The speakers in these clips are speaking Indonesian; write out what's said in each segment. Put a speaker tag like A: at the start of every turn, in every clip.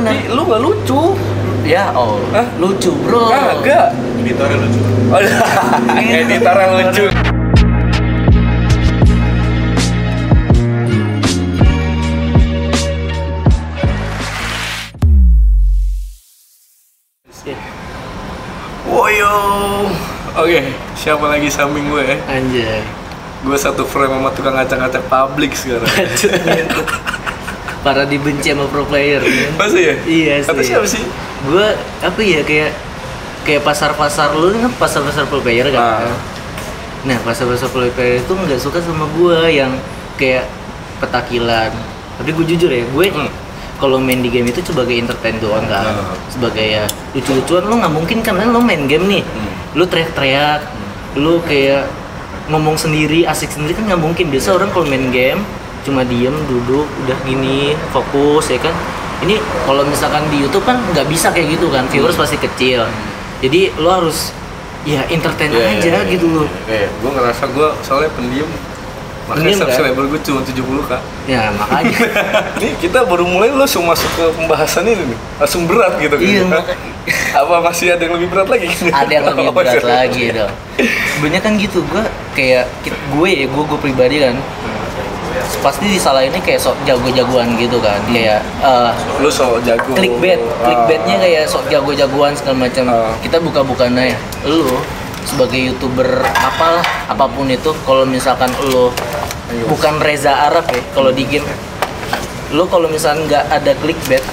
A: Tapi lu gak lucu.
B: Ya, oh.
A: Hah?
B: Lucu, Bro.
A: Kagak.
C: Editornya lucu.
A: Oh, editor yang lucu. Woyo. Oke, siapa lagi samping gue ya?
B: Anjay.
A: Gue satu frame sama tukang acak-acak publik sekarang.
B: Para dibenci sama pro player.
A: Masih ya?
B: Iya sih.
A: Atau siapa sih?
B: Gue apa ya kayak kayak pasar-pasar lu kan pasar-pasar pro player kan.
A: Ah.
B: Nah, pasar-pasar pro player itu nggak suka sama gue yang kayak petakilan. Tapi gue jujur ya, gue
A: Hmm.
B: kalau main di game itu sebagai entertain doang kan
A: Ah.
B: sebagai ya lucu-lucuan lo nggak mungkin kan lo main game nih lu teriak-teriak lu kayak ngomong sendiri asik sendiri kan nggak mungkin biasa orang kalau main game cuma diem duduk udah gini fokus ya kan ini kalau misalkan di YouTube kan nggak bisa kayak gitu kan viewers
A: Hmm.
B: pasti kecil jadi lo harus ya entertain
A: Iya,
B: aja
A: iya, iya,
B: gitu lo
A: Iya, gue ngerasa gue soalnya pendiam. Makanya
B: Pendiam, kan?
A: subscriber gue cuma 70 kak.
B: ya makanya
A: Nih kita baru mulai lo langsung masuk ke pembahasan ini nih. Langsung berat gitu kan.
B: Iya,
A: Apa masih ada yang lebih berat lagi?
B: ada yang lebih
A: Oh,
B: berat
A: ada.
B: lagi dong sebenarnya kan gitu gue kayak ki- gue ya gue gue pribadi kan pasti disalahinnya kayak sok jago-jagoan gitu kan kayak eh,
A: Lu soal jago.
B: clickbait
A: Ah.
B: clickbaitnya kayak sok jago-jagoan segala macam
A: Ah.
B: kita buka-bukaan aja lu sebagai youtuber apalah apapun itu kalau misalkan lu bukan Reza Arab ya kalau di game lu kalau misalkan nggak ada clickbait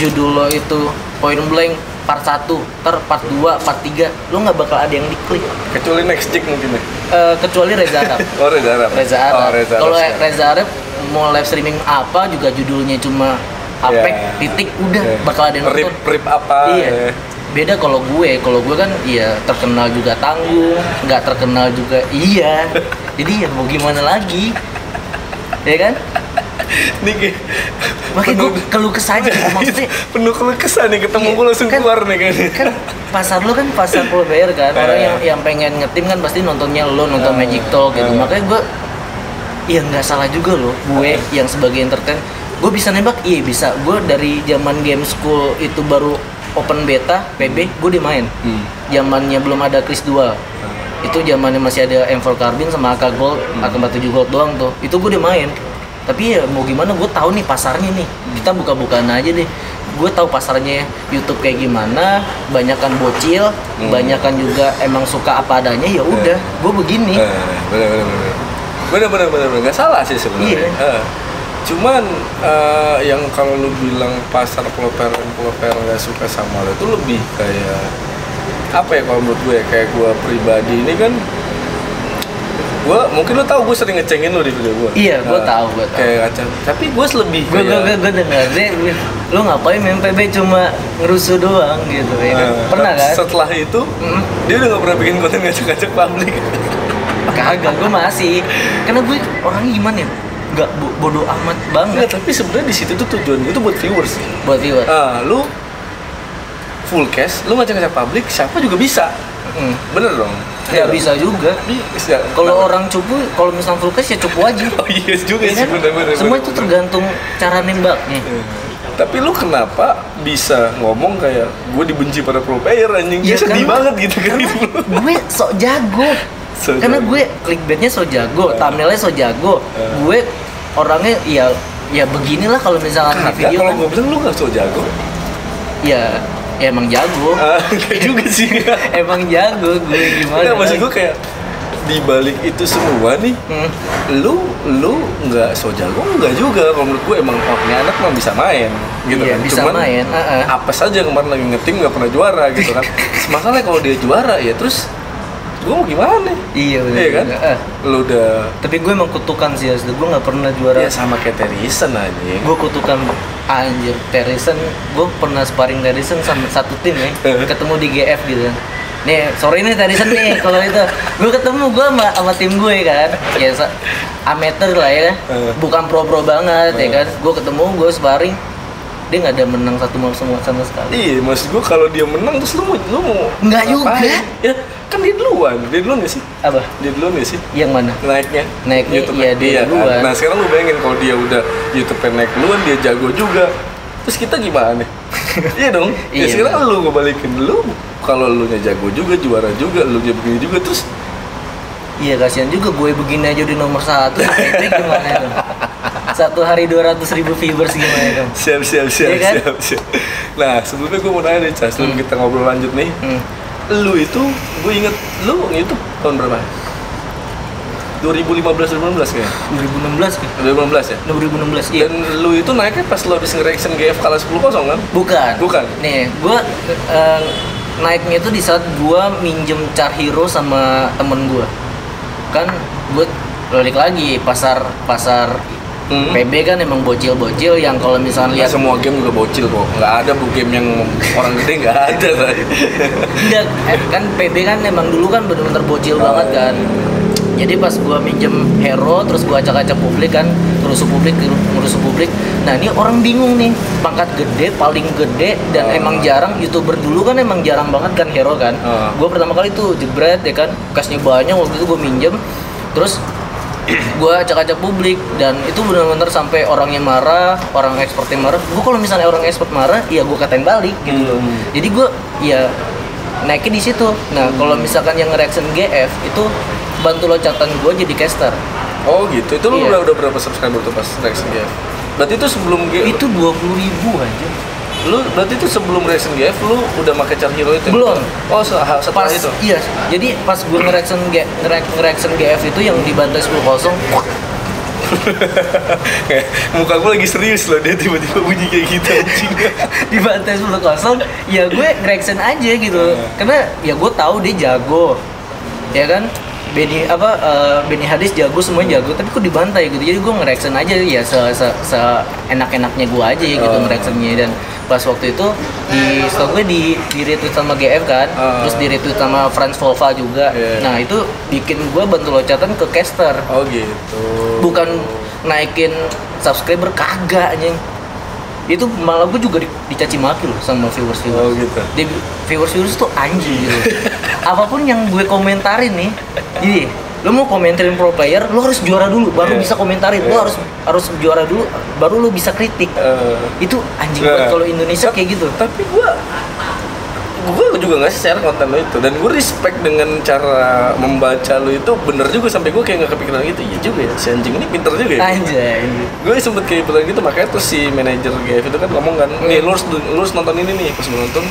B: judul lo itu point blank part 1 ter part 2 part 3 lu nggak bakal ada yang diklik
A: Kecuali next chick mungkin ya.
B: Eh, kecuali Reza Arab
A: Oh Reza Arab.
B: Reza
A: Oh,
B: Arab.
A: Reza
B: Kalau
A: Arab.
B: Reza Arab mau live streaming apa juga judulnya cuma apek
A: Iya.
B: titik udah
A: Iya.
B: bakal ada yang
A: Rip
B: nonton.
A: rip apa?
B: iya.
A: ya.
B: Beda kalau gue, kalau gue kan iya terkenal juga tanggung, nggak terkenal juga iya. Jadi ya mau gimana lagi? ya kan?
A: Nih kayak
B: Makanya gue keluh kesah aja gitu. maksudnya
A: penuh keluh kesah nih ketemu
B: Iya,
A: gue langsung
B: kan-
A: keluar nih kan.
B: kan pasar lu kan pasar pro player kan orang yang yang pengen ngetim kan pasti nontonnya lo nonton
A: Eh,
B: Magic Talk gitu
A: eh.
B: makanya gue ya nggak salah juga loh gue yang sebagai entertain gue bisa nembak iya bisa gue dari zaman game school itu baru open beta PB gue dimain
A: Hmm.
B: zamannya belum ada Chris Dual itu zamannya masih ada M4 Carbine sama AK Gold
A: Hmm.
B: AK47 Gold doang tuh itu gue udah main tapi ya mau gimana gue tahu nih pasarnya nih
A: Hmm.
B: kita buka-bukaan aja deh gue tahu pasarnya ya. YouTube kayak gimana banyakan bocil banyakan juga emang suka apa adanya ya udah gue begini
A: Hmm. Eh, bener bener bener bener bener bener bener nggak salah sih sebenarnya
B: Iya.
A: Eh, cuman eh, yang kalau lu bilang pasar peloperan peloperan nggak suka sama lo itu lebih kayak apa ya kalau menurut gue ya, kayak gue pribadi ini kan gue mungkin lo tau gue sering ngecengin lo di video gue
B: Iya, gue tahu, gue tahu.
A: kayak kaca tapi gue lebih
B: gue gue gue gue dengar deh lo ngapain main PB cuma ngerusuh doang gitu ya kan?
A: eh,
B: pernah kan
A: setelah itu
B: Mm.
A: dia udah gak pernah bikin konten ngajak-ngajak publik
B: kagak gue masih karena gue orangnya gimana ya nggak bo- bodoh amat banget
A: Enggak, tapi sebenarnya di situ tuh tujuan gue tuh buat viewers
B: buat viewer
A: Ah, lu full cash, lu ngajak ngajak publik, siapa juga bisa.
B: Mm.
A: Bener dong?
B: Ya bisa juga.
A: Bisa.
B: Kalau orang cupu, kalau misalnya full cash ya cupu aja.
A: Oh iya juga sih,
B: Ya kan?
A: bener bener.
B: Semua
A: bener,
B: itu
A: bener.
B: tergantung cara nembaknya.
A: Iya. Tapi lu kenapa bisa ngomong kayak gue dibenci pada pro player anjing?
B: Ya
A: Dia sedih
B: karena-
A: banget gitu kan itu.
B: gue sok jago.
A: So
B: Karena
A: jago. Ah.
B: gue clickbaitnya sok jago, thumbnailnya sok jago. Gue orangnya ya ya beginilah kalau misalkan di
A: Kagak,
B: video
A: kalau
B: kan.
A: gue bilang lu gak so jago.
B: Ya, ya emang jago.
A: Ah, Kayak juga sih.
B: Emang jago gue gimana?
A: Enggak, maksud gue kayak di balik itu semua nih,
B: Hmm.
A: lu lu nggak so jago nggak juga kalau menurut gue emang oh, ini anak mah bisa main gitu
B: Iya,
A: kan
B: bisa
A: Cuman,
B: main, uh-uh.
A: apa saja yang kemarin lagi ngetim nggak pernah juara gitu kan masalahnya kalau dia juara ya terus gue mau gimana
B: Iya benar.
A: iya kan lu udah
B: Tapi gue emang kutukan sih, asli. gue nggak pernah juara.
A: ya sama kayak Terisen anjing
B: gue kutukan anjir Terisen gue pernah sparring Terisen sama satu tim ya
A: Eh.
B: ketemu di GF gitu kan nih sore ini Terisen nih kalau itu gue ketemu gue sama, sama tim gue kan ya sa- amateur lah ya
A: Eh.
B: bukan pro pro banget ya kan gue ketemu gue sparring dia nggak ada menang satu mal semua sama sekali
A: iya maksud gue kalau dia menang terus lu mau lu mau
B: Nggak
A: ngapain?
B: juga.
A: ya kan dia duluan dia duluan gak sih
B: apa
A: dia duluan gak sih
B: yang mana
A: naiknya
B: Naiknya,
A: YouTube
B: iya, dia
A: kan?
B: duluan.
A: nah sekarang lu bayangin kalau dia udah YouTube naik duluan dia jago juga terus kita gimana iya dong ya
B: Iya,
A: sekarang
B: bener.
A: lu ngebalikin lu kalau lu nya jago juga juara juga lu nya begini juga terus
B: Iya kasihan juga gue begini aja di nomor satu Nah, Itu gimana dong Satu hari 200 ribu viewers gimana dong
A: siap siap siap
B: Iya kan?
A: siap, siap nah sebelumnya gue mau nanya nih Cas sebelum
B: Hmm.
A: kita ngobrol lanjut nih
B: hmm.
A: lu itu gue inget lu itu tahun berapa 2015 2016 kayaknya
B: 2016 kan
A: 2016 ya
B: 2016 iya
A: dan lu itu naiknya pas lu habis nge-reaction GF kalah 10-0 kan
B: Bukan
A: Bukan.
B: Nih gue eh, naiknya itu di saat gue minjem Char Hero sama temen gue Kan gue balik lagi pasar pasar
A: Hmm.
B: PB kan emang bocil-bocil yang kalau misalnya
A: Nggak
B: lihat
A: semua game juga bocil kok nggak ada bu game yang orang gede nggak ada Ray.
B: Enggak, eh, kan PB kan emang dulu kan bener-bener bocil
A: Oh,
B: banget kan. Jadi pas gua minjem hero terus gua acak-acak publik kan, ngerusuh publik, ngerusuh publik. Nah, ini orang bingung nih, pangkat gede, paling gede dan
A: Oh.
B: emang jarang YouTuber dulu kan emang jarang banget kan hero kan.
A: Oh.
B: Gua pertama kali tuh jebret ya kan, kasnya banyak waktu itu gua minjem. Terus gua acak-acak publik dan itu bener-bener sampai orangnya marah, orang expertnya marah. Gua kalau misalnya orang expert marah, ya gua katain balik gitu loh.
A: Hmm.
B: Jadi gue ya naiknya di situ. Nah kalau misalkan yang reaction GF itu bantu loncatan gue jadi caster.
A: oh gitu itu lu
B: Iya.
A: udah, udah berapa subscriber tuh pas reaction GF berarti itu sebelum GF
B: Itu dua puluh ribu aja.
A: lu berarti itu sebelum reaction GF lu udah pakai char hero itu ya?
B: Belum.
A: oh se- ha- setelah
B: Pas
A: itu
B: iya. Jadi pas gue ngereaction G- ngereak- ngereaction GF itu yang dibantai sepuluh kosong.
A: Kayak, muka gue lagi serius loh dia tiba-tiba bunyi kayak gitu anjing
B: dibantai sepuluh kosong. Ya gue reaction aja gitu.
A: Iya.
B: Karena ya gue tahu dia jago. Ya kan. Benny apa eh, Benny Hadis jago semua jago tapi kok dibantai gitu jadi gue ngereaction aja ya se se, se enak enaknya gue aja gitu
A: Oh.
B: ngereactionnya dan pas waktu itu di stok gue di di retweet sama GF kan
A: Oh.
B: terus di retweet sama Franz Volva juga
A: Iya.
B: nah itu bikin gue bantu loncatan ke caster
A: oh gitu
B: bukan naikin subscriber kagak anjing itu malah gue juga di, dicaci maki loh sama viewers
A: oh
B: viewers
A: gitu
B: dia viewers viewers tuh anjing gitu apapun yang gue komentarin nih jadi lo mau komentarin pro player lo harus juara dulu baru
A: Iya.
B: bisa komentarin lo
A: Iya.
B: harus harus juara dulu baru lo bisa kritik
A: Eh,
B: itu anjing
A: Nah.
B: banget kalau
A: Tap-
B: Indonesia kayak gitu
A: tapi gue gue juga nggak share konten lo itu dan gue respect dengan cara membaca lo itu bener juga sampai gue kayak nggak kepikiran gitu iya juga ya si anjing ini pinter juga ya
B: anjay
A: gue sempet kayak bilang gitu makanya terus si manajer GF itu kan ngomong kan nih lu harus, lu harus nonton ini nih pas gue nonton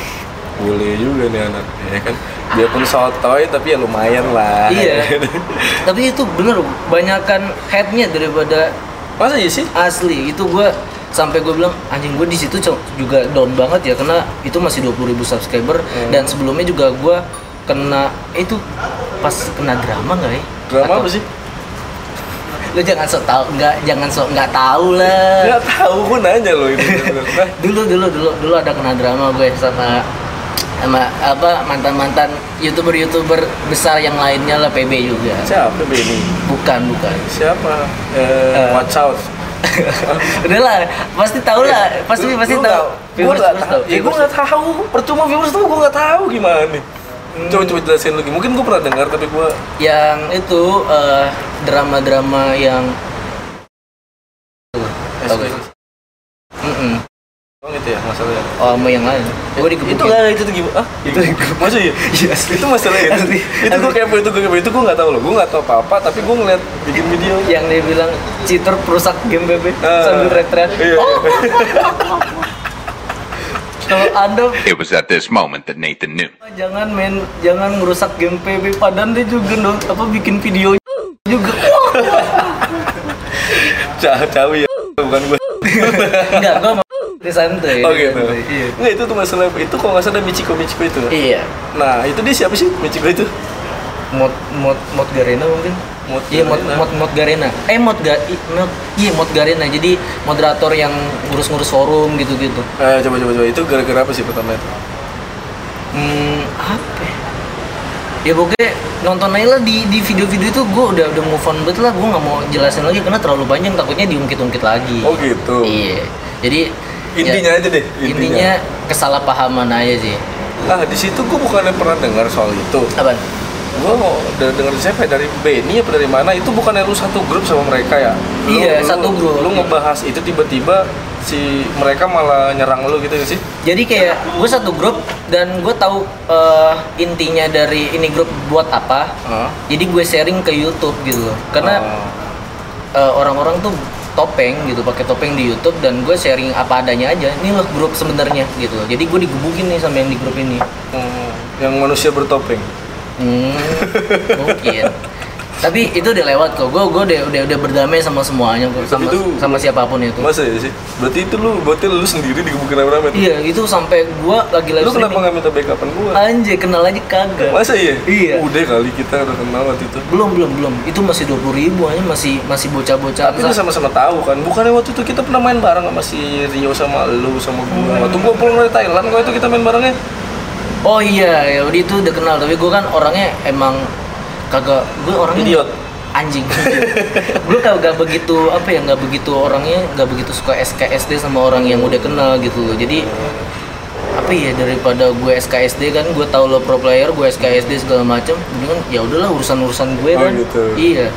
A: boleh juga nih anak ya kan biarpun sotoy tapi ya lumayan lah
B: iya tapi itu bener banyakan headnya daripada
A: masa iya sih
B: asli itu gue sampai gue bilang anjing gue di situ co- juga down banget ya karena itu masih 20.000 subscriber
A: Hmm.
B: dan sebelumnya juga gue kena eh, itu pas kena drama nggak ya
A: drama apa
B: Atau-
A: sih
B: lo jangan sok tahu nggak jangan sok nggak tahu lah
A: nggak tahu gue nanya lo itu Nah,
B: dulu dulu dulu dulu ada kena drama gue sama sama apa mantan mantan youtuber youtuber besar yang lainnya lah PB juga
A: siapa Benny
B: bukan bukan
A: siapa eh, watch out
B: udah lah pasti tahu lah pasti
A: Lu-
B: pasti
A: lu
B: tahu
A: nggak- Gua
B: Viewers-
A: nggak
B: viewers
A: tahu. Ya
B: viewers
A: gue nggak tahu. Percuma viewers tuh gue nggak tahu gimana nih.
B: Hmm.
A: Coba coba jelasin lagi. Mungkin gue pernah dengar tapi gue
B: yang itu eh, drama-drama yang Oke. mm
A: Oh gitu ya masalahnya.
B: oh sama yang lain gue dikebukin
A: Itu nggak itu tuh gimana? Ah, itu masa ya? Itu masalah itu.
B: Iya, Asli.
A: Itu gue
B: Asli.
A: kepo itu gue kepo itu gue nggak tahu loh. Gue nggak tahu apa apa tapi gue ngeliat bikin video.
B: yang dia bilang cheater perusak game BB
A: Ah.
B: sambil teriak-teriak
A: Iya.
B: "Oh, kalau anda "Oh,
D: It was at this moment that Nathan knew.
B: jangan main jangan ngerusak game PB padahal dia juga dong apa bikin video juga
A: Cah cawi ya. Bukan gue.
B: enggak gue mau di santai
A: Oh gitu.
B: Iya.
A: Nggak itu tuh masalah itu kalau nggak salah Michiko Michiko itu.
B: iya
A: Nah itu dia siapa sih Michiko itu?
B: mod mod mod Garena mungkin
A: Mod
B: iya mod
A: Garena.
B: mod mod Garena eh mod ga i- mod iya mod Garena jadi moderator yang ngurus-ngurus forum gitu-gitu
A: Eh coba coba coba itu gara-gara apa sih pertama itu?
B: hmm apa ya? ya pokoknya nonton aja lah di di video-video itu gue udah udah move on banget lah gue nggak mau jelasin lagi karena terlalu panjang takutnya diungkit-ungkit lagi
A: Oh gitu.
B: iya jadi ya,
A: Intinya aja deh.
B: intinya kesalahpahaman aja sih
A: Nah, di situ gue bukannya pernah dengar soal itu.
B: apa
A: Gue mau dari dengar siapa ya? dari Benny apa dari mana itu bukannya lu satu grup sama mereka ya? Lu-
B: Iya,
A: lu-
B: satu grup.
A: Lu ngebahas itu tiba-tiba si mereka malah nyerang lu gitu sih
B: Jadi kayak gue satu grup dan gue tahu eh, intinya dari ini grup buat apa.
A: Heeh.
B: Jadi gue sharing ke YouTube gitu loh.
A: Oh.
B: Karena eh, orang-orang tuh topeng gitu pakai topeng di YouTube dan gue sharing apa adanya aja. Ini loh grup sebenarnya gitu loh. Jadi gue digebukin nih sama yang di grup ini.
A: Hmm, yang manusia bertopeng
B: Hmm, mungkin. Tapi itu udah lewat kok. Gue gue udah, udah udah berdamai sama semuanya kok. Sama
A: Itu-
B: sama siapapun itu.
A: masa ya sih berarti itu lu berarti lu sendiri digebukin rame-rame tuh?
B: Iya, itu sampai gue lagi live
A: lu kenapa
B: streaming.
A: nggak minta backupan gua
B: Anjir, kenal aja kagak.
A: masa iya
B: Iya.
A: udah kali kita udah kenal waktu itu
B: belum belum belum itu masih dua puluh ribu aja masih masih bocah-bocah
A: tapi lu sama-sama tahu kan bukannya waktu itu kita pernah main bareng sama si Rio sama lu sama gua
B: Hmm.
A: waktu gua pulang dari Thailand kok itu kita main barengnya
B: oh iya ya udah itu udah kenal tapi gue kan orangnya emang kagak gue orangnya
A: Idiot.
B: anjing gue kagak begitu apa ya nggak begitu orangnya nggak begitu suka SKSD sama orang yang udah kenal gitu loh jadi apa ya daripada gue SKSD kan gue tahu lo pro player gue SKSD segala macem jadi kan ya udahlah urusan urusan gue
A: Oh,
B: kan
A: gitu.
B: iya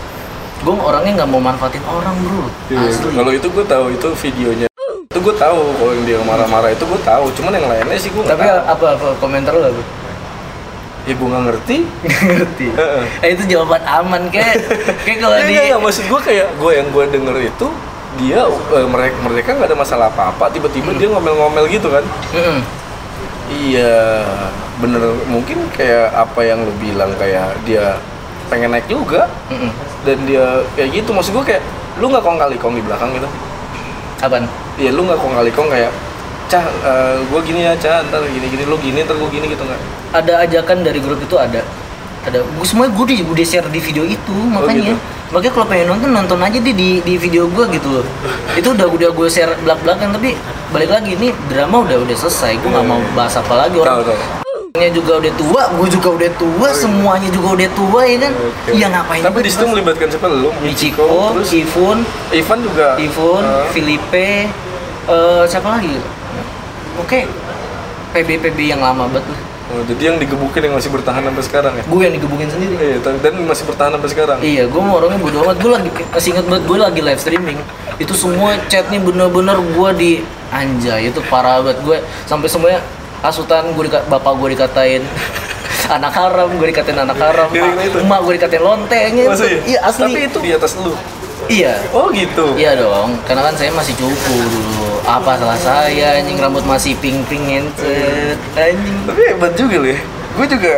B: gue orangnya nggak mau manfaatin orang bro
A: Iya,
B: asli
A: kalau itu gue tahu itu videonya itu gue tahu kalau yang dia marah-marah itu gue tahu cuman yang lainnya sih gue
B: tapi ya,
A: tapi
B: apa apa komentar lo apa
A: ya gue nggak ngerti
B: ngerti
A: Heeh.
B: eh itu jawaban aman kayak kayak kalau
A: Nggak,
B: di
A: nggak, nggak. Iya, maksud gue kayak gue yang gue denger itu dia eh, mereka mereka nggak ada masalah apa-apa tiba-tiba
B: Hmm.
A: dia ngomel-ngomel gitu kan
B: Mm-mm.
A: iya bener mungkin kayak apa yang lu bilang kayak dia pengen naik juga
B: Mm-mm.
A: dan dia kayak gitu maksud gue kayak lu nggak kong kali kong di belakang gitu
B: apaan
A: ya lu nggak kong kali kong kayak cah gue gini ya cah ntar gini gini lu gini ntar gue gini gitu nggak
B: ada ajakan dari grup itu ada ada gue semuanya gue udah, udah share di video itu
A: gitu.
B: makanya makanya kalau pengen nonton nonton aja deh di di video gue gitu loh itu udah udah gue share belak belakan tapi balik lagi ini drama udah udah selesai gue nggak mau bahas apa lagi
A: Iya, tahu
B: orang
A: tahu
B: nya juga udah tua gue juga udah tua semuanya juga udah tua ya kan
A: Oke.
B: ya ngapain
A: Tapi
B: gue
A: di situ
B: bahas?
A: melibatkan siapa? Lu,
B: Michiko,
A: terus
B: Ifun,
A: Ivan juga.
B: Ivon,
A: Eh,
B: Filipe, eh, siapa lagi? Oke, PB PB yang lama banget. lah.
A: oh, jadi yang digebukin yang masih bertahan sampai sekarang ya?
B: Gue yang digebukin sendiri.
A: Iya, tapi- dan masih bertahan sampai sekarang.
B: Iya, gue mau orangnya bodo amat. Gue lagi masih inget banget gue lagi live streaming. Itu semua chatnya bener-bener gue di anjay itu parah banget gue sampai semuanya hasutan gue dika- bapak gue dikatain anak haram gue dikatain anak haram
A: Gara-gara itu?
B: emak gue dikatain lonteng gitu.
A: Iya, Masa ya?
B: iya asli
A: Tapi itu di atas lu.
B: iya
A: Oh gitu.
B: Iya dong, karena kan saya masih cupu dulu. Apa salah saya, anjing rambut masih pink-pink ngencet, anjing.
A: Tapi hebat juga lu ya. Gue juga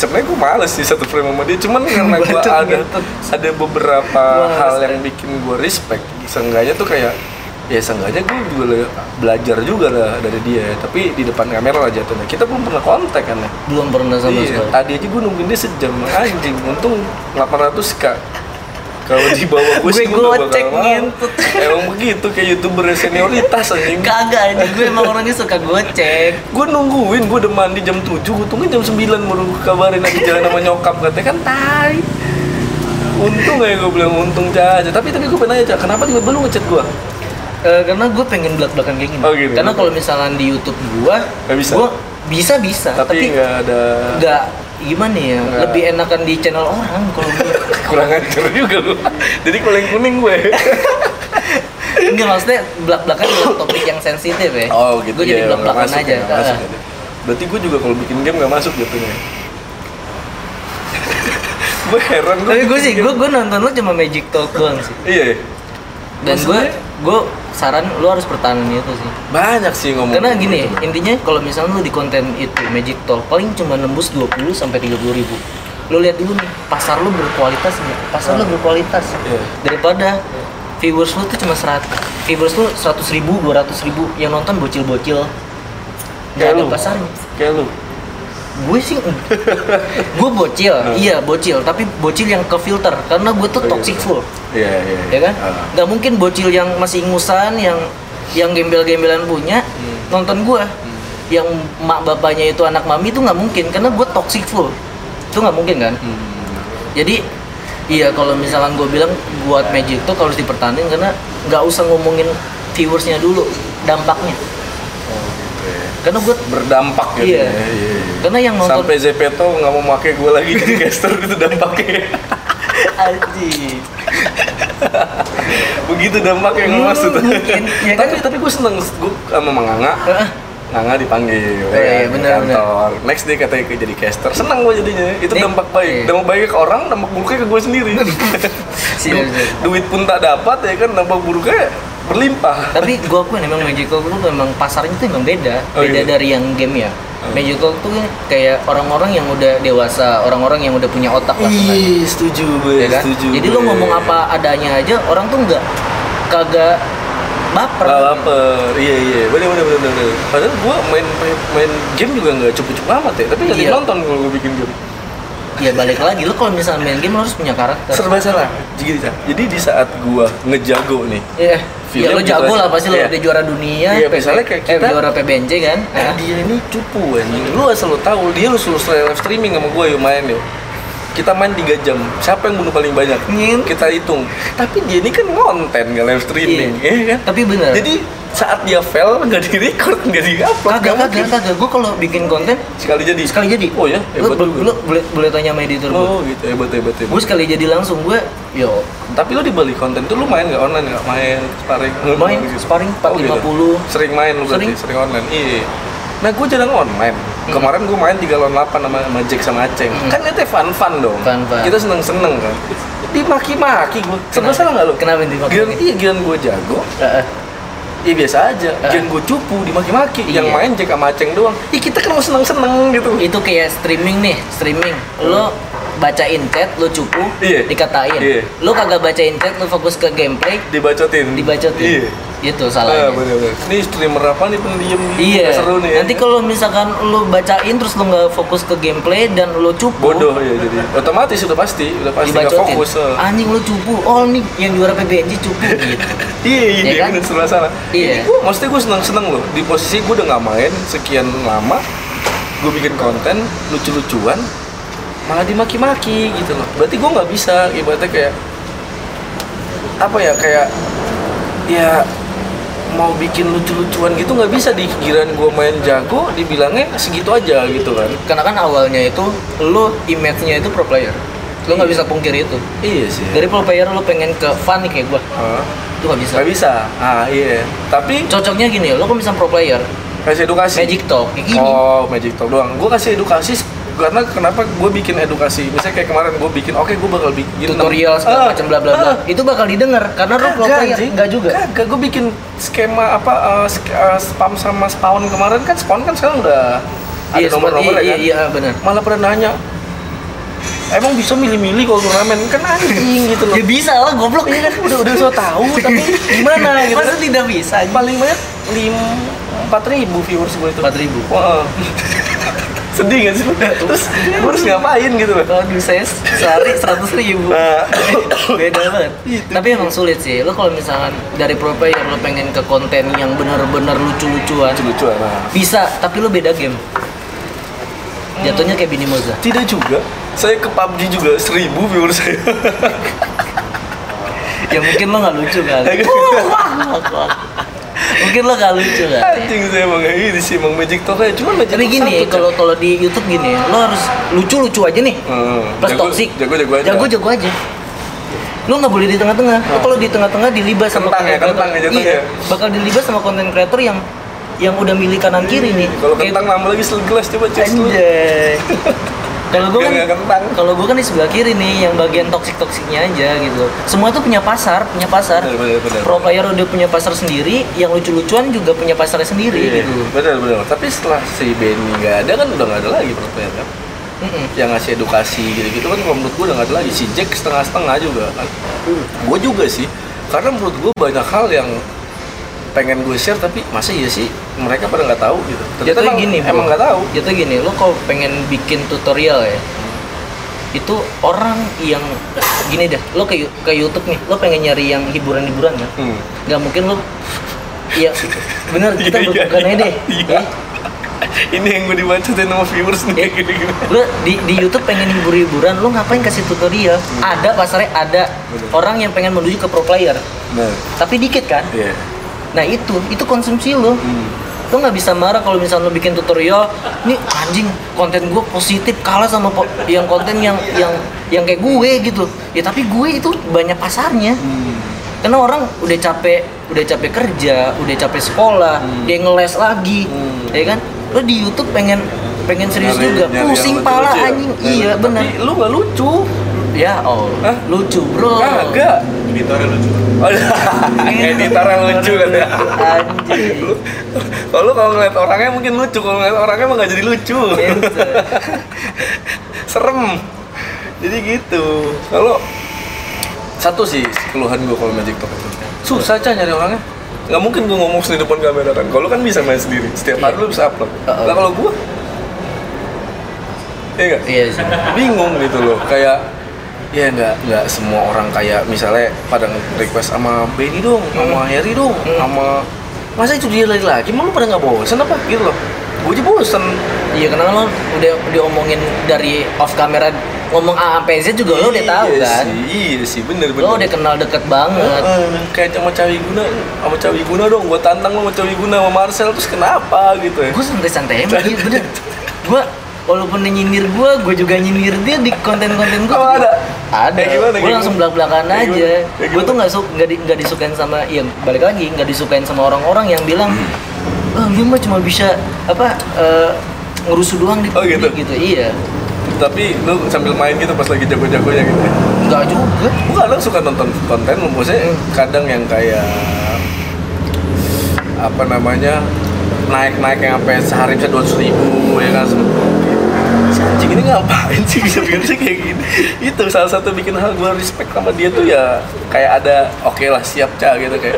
A: sebenarnya gue males sih satu frame sama dia. Cuman karena gue
B: Bacot,
A: ada
B: bacot.
A: ada beberapa
B: gitu. Males,
A: hal yang bikin gue respect. Seenggaknya tuh kayak ya seenggaknya gue juga le- belajar juga lah dari dia ya. tapi di depan kamera lah jatuhnya kita belum pernah kontak kan ya
B: Belum pernah sama
A: Iya,
B: sekali.
A: tadi aja gue nungguin dia sejam anjing, untung 800 k. Kalau dibawa gue sih
B: Gue
A: gua nggak
B: gocek,
A: bakal mau.
B: ngentut.
A: Emang begitu kayak youtuber senioritas anjing.
B: Kagak anjing, gue emang orangnya suka gocek.
A: Gue nungguin, gue udah mandi jam 7, gue tungguin jam 9 baru gua kabarin lagi jalan sama nyokap katanya kan tai. Untung ya gue bilang untung aja. Tapi tadi gue pengen aja, kenapa tiba-tiba lu ngechat gue?
B: Eh, karena gue pengen belak-belakan kayak gini.
A: Oh, gitu.
B: Karena kalau misalnya di YouTube gua,
A: Nggak bisa.
B: gua bisa bisa,
A: Tapi
B: tapi
A: nggak ada
B: nggak gimana ya,
A: Nggak.
B: lebih enakan di channel orang kalau gue.
A: kurang ajar juga lu. Jadi kuling kuning gue.
B: Enggak maksudnya belak-belakan adalah topik yang sensitif ya. Gue jadi
A: ya, nggak
B: belak-belakan
A: masuk
B: aja.
A: ya, nggak masuk
B: Ah.
A: ya. Berarti gue juga kalau bikin game nggak masuk jatuhnya. gue heran gua
B: Tapi gue
A: bikin
B: sih,
A: game.
B: gue gue nonton lu cuma Magic Talk doang sih.
A: Iya, iya.
B: dan gue
A: Maksudnya?
B: gue saran lu harus pertahanin itu sih
A: banyak sih ngomong. gitu.
B: karena gini intinya kalau misalnya lu di konten itu magic talk paling cuma nembus 20 sampai 30 ribu lu lihat dulu nih pasar lu berkualitas nggak pasar lu berkualitas
A: Iya.
B: daripada viewers lu tuh cuma 100 viewers lu 100 ribu 200 ribu yang nonton bocil-bocil nggak
A: Kayak
B: ada
A: Ya lu.
B: pasarnya
A: kayak lu.
B: gue sih gue bocil iya bocil tapi bocil yang ke filter karena gue tuh
A: Nah. Oh, iya.
B: toxic full
A: Iya, iya.
B: ya kan?
A: Ah.
B: Gak mungkin bocil yang masih ingusan, yang yang gembel-gembelan punya
A: Hmm.
B: nonton gua. Yang mak bapaknya itu anak mami itu nggak mungkin karena gua toxic full. Itu nggak mungkin kan?
A: Hmm.
B: Jadi iya kalau misalkan gua bilang
A: Ya.
B: buat Magic tuh harus dipertahankan karena nggak usah ngomongin viewersnya dulu dampaknya.
A: Oh, gitu ya.
B: Karena gua
A: Berdampak gitu ya.
B: Iya.
A: iya, iya.
B: karena yang nonton
A: Sampai Zepeto nggak mau pakai gue lagi jadi caster itu gitu dampaknya. Anjing. Begitu dampak yang gue
B: Hmm,
A: maksud.
B: mungkin. Ya kan?
A: tapi tapi gue seneng gue sama Manganga.
B: Heeh.
A: Nanga dipanggil
B: Oh,
A: kan,
B: iya,
A: di
B: benar, benar.
A: kantor. Next day katanya ke- jadi caster. Seneng gue jadinya. Itu
B: Nih,
A: dampak baik.
B: iya.
A: Dampak baiknya ke orang, dampak buruknya ke gue sendiri.
B: Siap,
A: Du-
B: siap.
A: Duit pun tak dapat ya kan, dampak buruknya berlimpah.
B: tapi gua akuin emang magical tuh memang pasarnya tuh emang beda
A: Oh,
B: beda
A: gitu?
B: dari yang game ya magical tuh kan kayak orang-orang yang udah dewasa orang-orang yang udah punya otak lah sebenarnya.
A: Ih, Iya, setuju gue,
B: ya kan? Jadi lu ngomong apa adanya aja, orang tuh nggak kagak baper.
A: Nggak baper, iya iya, bener bener bener bener. Padahal gua main main- main game juga nggak cukup-cukup amat ya, tapi nggak
B: Iya.
A: nonton kalau gua bikin game.
B: Ya balik lagi lu kalau misalnya main game lu harus punya karakter.
A: Serba salah. Jadi, jadi di saat gua ngejago nih,
B: Iya.
A: Film
B: Ya lu
A: juga
B: jago
A: sih.
B: lah pasti lu
A: Iya.
B: udah juara dunia,
A: Iya, misalnya kayak
B: eh,
A: kita-
B: juara PBNJ kan.
A: nah,
B: Nah,
A: dia ini cupu anjing. Lu asal lu tahu dia lu suruh live streaming sama gua yuk main yuk. Kita main 3 jam, siapa yang bunuh paling banyak?
B: Ngin.
A: Kita hitung. Tapi dia ini kan konten nggak live streaming,
B: Iya.
A: ya kan?
B: Tapi bener.
A: Jadi saat dia fail nggak di record, nggak di upload.
B: kagak kagak kagak gua kalau bikin konten
A: Sekali jadi.
B: sekali jadi.
A: Oh ya,
B: lu,
A: hebat juga.
B: lu boleh boleh tanya sama editor gua.
A: Oh gitu, hebat hebat hebat.
B: Gua sekali jadi langsung gua yo
A: Tapi lo di balik konten tuh lu main nggak online nggak main sparring?
B: Main,
A: Gitu.
B: sparring 450.
A: Sering main lu berarti,
B: Sering.
A: sering online. Iya. Nah gue jarang online. Kemarin gue main 3 lawan 8 sama, sama Jack sama Aceng.
B: Hmm.
A: Kan itu fun fun dong.
B: Fun-fun.
A: Kita seneng seneng kan. Dimaki-maki gue. Serba
B: Kenapa?
A: salah nggak lo?
B: Kenapa dimaki-maki?
A: Giliran- iya giliran gue jago.
B: eh, eh,
A: Iya biasa aja.
B: Ah.
A: Giliran gue cupu dimaki-maki. Yang
B: Iya.
A: main Jack sama Aceng doang. Ih kita kan mau seneng seneng gitu.
B: itu kayak streaming nih, streaming. Lu bacain chat, lu cupu,
A: Hmm. Iya.
B: dikatain.
A: Iya.
B: Lu kagak bacain chat, lu fokus ke gameplay,
A: Dibacotin.
B: dibacotin.
A: Iya. Ah,
B: Itu salahnya.
A: bener-bener. Ini streamer apa nih pendiam gitu.
B: Iya.
A: Nggak Seru nih. ya.
B: Nanti kalau misalkan lu bacain terus lu nggak fokus ke gameplay dan lu cupu,
A: bodoh ya jadi otomatis udah pasti udah pasti nggak
B: dibacotin.
A: fokus eh.
B: Anjing lu cupu. Oh, nih yang juara PBNJ cupu gitu.
A: iya iya
B: Ya
A: iya
B: kan?
A: bener, sebelah sana
B: Iya.
A: Gua- maksudnya gue seneng seneng loh di posisi gue udah nggak main sekian lama gue bikin konten lucu lucuan malah dimaki-maki gitu loh berarti gue nggak bisa ibaratnya kayak apa ya kayak ya mau bikin lucu-lucuan gitu nggak bisa di giran gue main jago dibilangnya segitu aja gitu kan
B: Karena kan awalnya itu lu image-nya itu pro player. Lu nggak bisa pungkiri itu.
A: iya sih
B: Dari pro player lu pengen ke fun nih kayak gua.
A: Hah?
B: Itu nggak bisa.
A: nggak bisa ah iya tapi
B: Cocoknya gini, lo kok bisa pro player,
A: kasih edukasi
B: Magic Talk, kayak gini.
A: Oh, Magic Talk doang. Gue kasih edukasi s- karena kenapa gue bikin edukasi. Misalnya kayak kemarin gue bikin, oke gue bakal bikin Ah,
B: tutorial segala macam bla bla bla. Itu bakal didengar karena lo pro player enggak juga.
A: Kagak, gue bikin skema apa eh, sk- eh, spam sama spawn kemarin kan spawn kan sekarang udah ada
B: Iya,
A: nomor-nomor
B: seperti-
A: ya
B: iya,
A: kan.
B: iya, benar.
A: Malah pernah nanya, emang bisa milih-milih kalau turnamen kan anjing gitu loh.
B: Ya bisa lah goblok ya kan
A: udah udah so tau tapi gimana gitu
B: Masa tidak bisa?
A: paling banyak lim empat ribu Iya, viewers gue itu
B: 4.000.
A: Wah. sedih gak sih lu? terus gue harus ngapain gitu loh
B: Aduh saya sehari 100 ribu
A: Nah.
B: Beda banget
A: Itu.
B: Gitu. Tapi emang sulit sih Lo kalau misalkan dari pro player lo pengen ke konten yang bener-bener lucu-lucuan
A: lucu-lucuan nah.
B: Bisa, tapi lo beda game Jatuhnya kayak Bini Moza
A: tidak juga saya ke PUBG juga seribu viewers saya
B: Ya mungkin lo gak lucu kali Mungkin lo gak lucu kali
A: anjing saya emang kayak gini sih emang Magic Talk aja cuman Magic
B: Iya. Tapi
A: Talk
B: gini, ya,
A: satu,
B: kalau kalau di YouTube gini, lo harus lucu-lucu aja nih.
A: Hmm,
B: Plus
A: jago-
B: toxic.
A: jago-jago aja. Hmm.
B: Jago-jago aja. Lo nggak boleh di tengah-tengah. Lo kalau di tengah-tengah dilibas sama
A: Kentang ya,
B: content
A: kentang
B: creator.
A: ya jatuhnya.
B: Iya, bakal dilibas sama content creator yang yang udah milih kanan kiri nih.
A: kalau kentang nambah lagi segelas coba cek dulu
B: Anjay. Kalau gue
A: Biar nggak
B: kan
A: kentang.
B: kalau gue kan di sebelah kiri nih yang bagian toksik toksiknya aja gitu. Semua tuh punya pasar, punya pasar.
A: Bener, bener, bener.
B: Pro player udah punya pasar sendiri, yang lucu-lucuan juga punya pasarnya sendiri
A: Iya,
B: gitu.
A: benar benar tapi setelah si Benny nggak ada kan udah nggak ada lagi pertanyaan kan
B: Mm-mm.
A: yang ngasih edukasi gitu-gitu kan kalau menurut gue udah nggak ada lagi si Jack setengah-setengah juga kan gue juga sih karena menurut gue banyak hal yang pengen gue share tapi masa iya sih mereka pada nggak tahu gitu ternyata
B: Jatuhnya
A: emang,
B: gini, Bro.
A: emang nggak tahu
B: Jatuhnya gini, lo kalau pengen bikin tutorial ya, itu orang yang gini dah, lo ke, Yu- ke YouTube nih, lo pengen nyari yang hiburan-hiburan kan?
A: Hmm.
B: Gak mungkin lo, iya bener kita
A: Iya, iya,
B: bukan aja deh.
A: iya. ini yang gue dibacotin sama viewers nih
B: Eh.
A: gini-gini
B: Lo di, di YouTube pengen hibur-hiburan, lo ngapain kasih tutorial? Ada pasarnya, ada
A: Bener.
B: orang yang pengen menuju ke pro player,
A: nah
B: tapi dikit kan?
A: iya
B: Nah itu, itu konsumsi lo.
A: Hmm.
B: Lo nggak bisa marah kalau misalnya lo bikin tutorial, nih anjing konten gue positif kalah sama po- yang konten yang yang yang kayak gue gitu. Ya tapi gue itu banyak pasarnya.
A: Hmm.
B: Karena orang udah capek, udah capek kerja, udah capek sekolah,
A: Hmm.
B: dia ngeles lagi, ya kan? Lo di YouTube pengen pengen serius
A: Nyari-
B: juga,
A: nyari yang
B: pusing
A: lucu-lucu
B: pala
A: ya?
B: anjing.
A: Nyari-
B: Iya
A: tapi
B: benar.
A: lu gak lucu
B: Ya oh,
A: Hah?
B: lucu bro.
A: kagak
E: Editornya lucu.
A: Oh, editor yang lucu kan ya
B: Anjing.
A: Lu- kalau lu kalau ngeliat orangnya mungkin lucu kalau ngeliat orangnya emang gak jadi lucu
B: Gitu.
A: serem jadi gitu kalau satu sih keluhan gue kalau magic talk itu susah cah nyari orangnya nggak mungkin gue ngomong di depan kamera kan kalau lu kan bisa main sendiri setiap hari lu bisa upload
B: Uh-uh.
A: lah kalau gue iya nggak?
B: Iya sih.
A: bingung gitu loh kayak ya nggak nggak semua orang kayak misalnya pada request sama Benny dong
B: Hmm.
A: sama Harry dong sama masa itu dia lagi lagi malu pada nggak bosen apa gitu loh gue aja bosen
B: Iya karena lo udah diomongin dari off camera ngomong A sampai Z juga lo udah tahu
A: Iya
B: kan.
A: sih, iya sih bener bener
B: Lo udah kan? kenal deket banget.
A: Heeh, kayak sama Cawi Guna sama Cawi Guna dong gue tantang lo sama Cawi Guna sama Marcel terus kenapa gitu ya
B: Gue santai-santai emang iya bener. Gue walaupun dia nyindir gue, gue juga nyindir dia di konten-konten gue.
A: Emang Oh, ada?
B: Ada.
A: Kayak gimana,
B: Gue
A: kayak
B: langsung
A: gimana?
B: belak-belakan
A: Kayak
B: aja.
A: gimana? Kayak
B: Gue tuh
A: gimana?
B: nggak suka nggak di- nggak disukain sama, iya balik lagi nggak disukain sama orang-orang yang bilang, oh
A: Hmm.
B: dia mah cuma bisa apa eh, ngerusuh doang di
A: Oh, gitu?
B: di- Iya.
A: tapi lu sambil main gitu pas lagi jago-jagonya gitu ya.
B: Enggak juga.
A: Bukan, lo suka nonton konten lo maksudnya
B: Hmm.
A: kadang yang kayak apa namanya naik-naik yang sampai sehari bisa dua ribu ya kan si anjing ini ngapain sih bisa bikin sih kayak gini itu salah satu bikin hal gue respect sama dia tuh ya kayak ada oke lah siap cah gitu kayak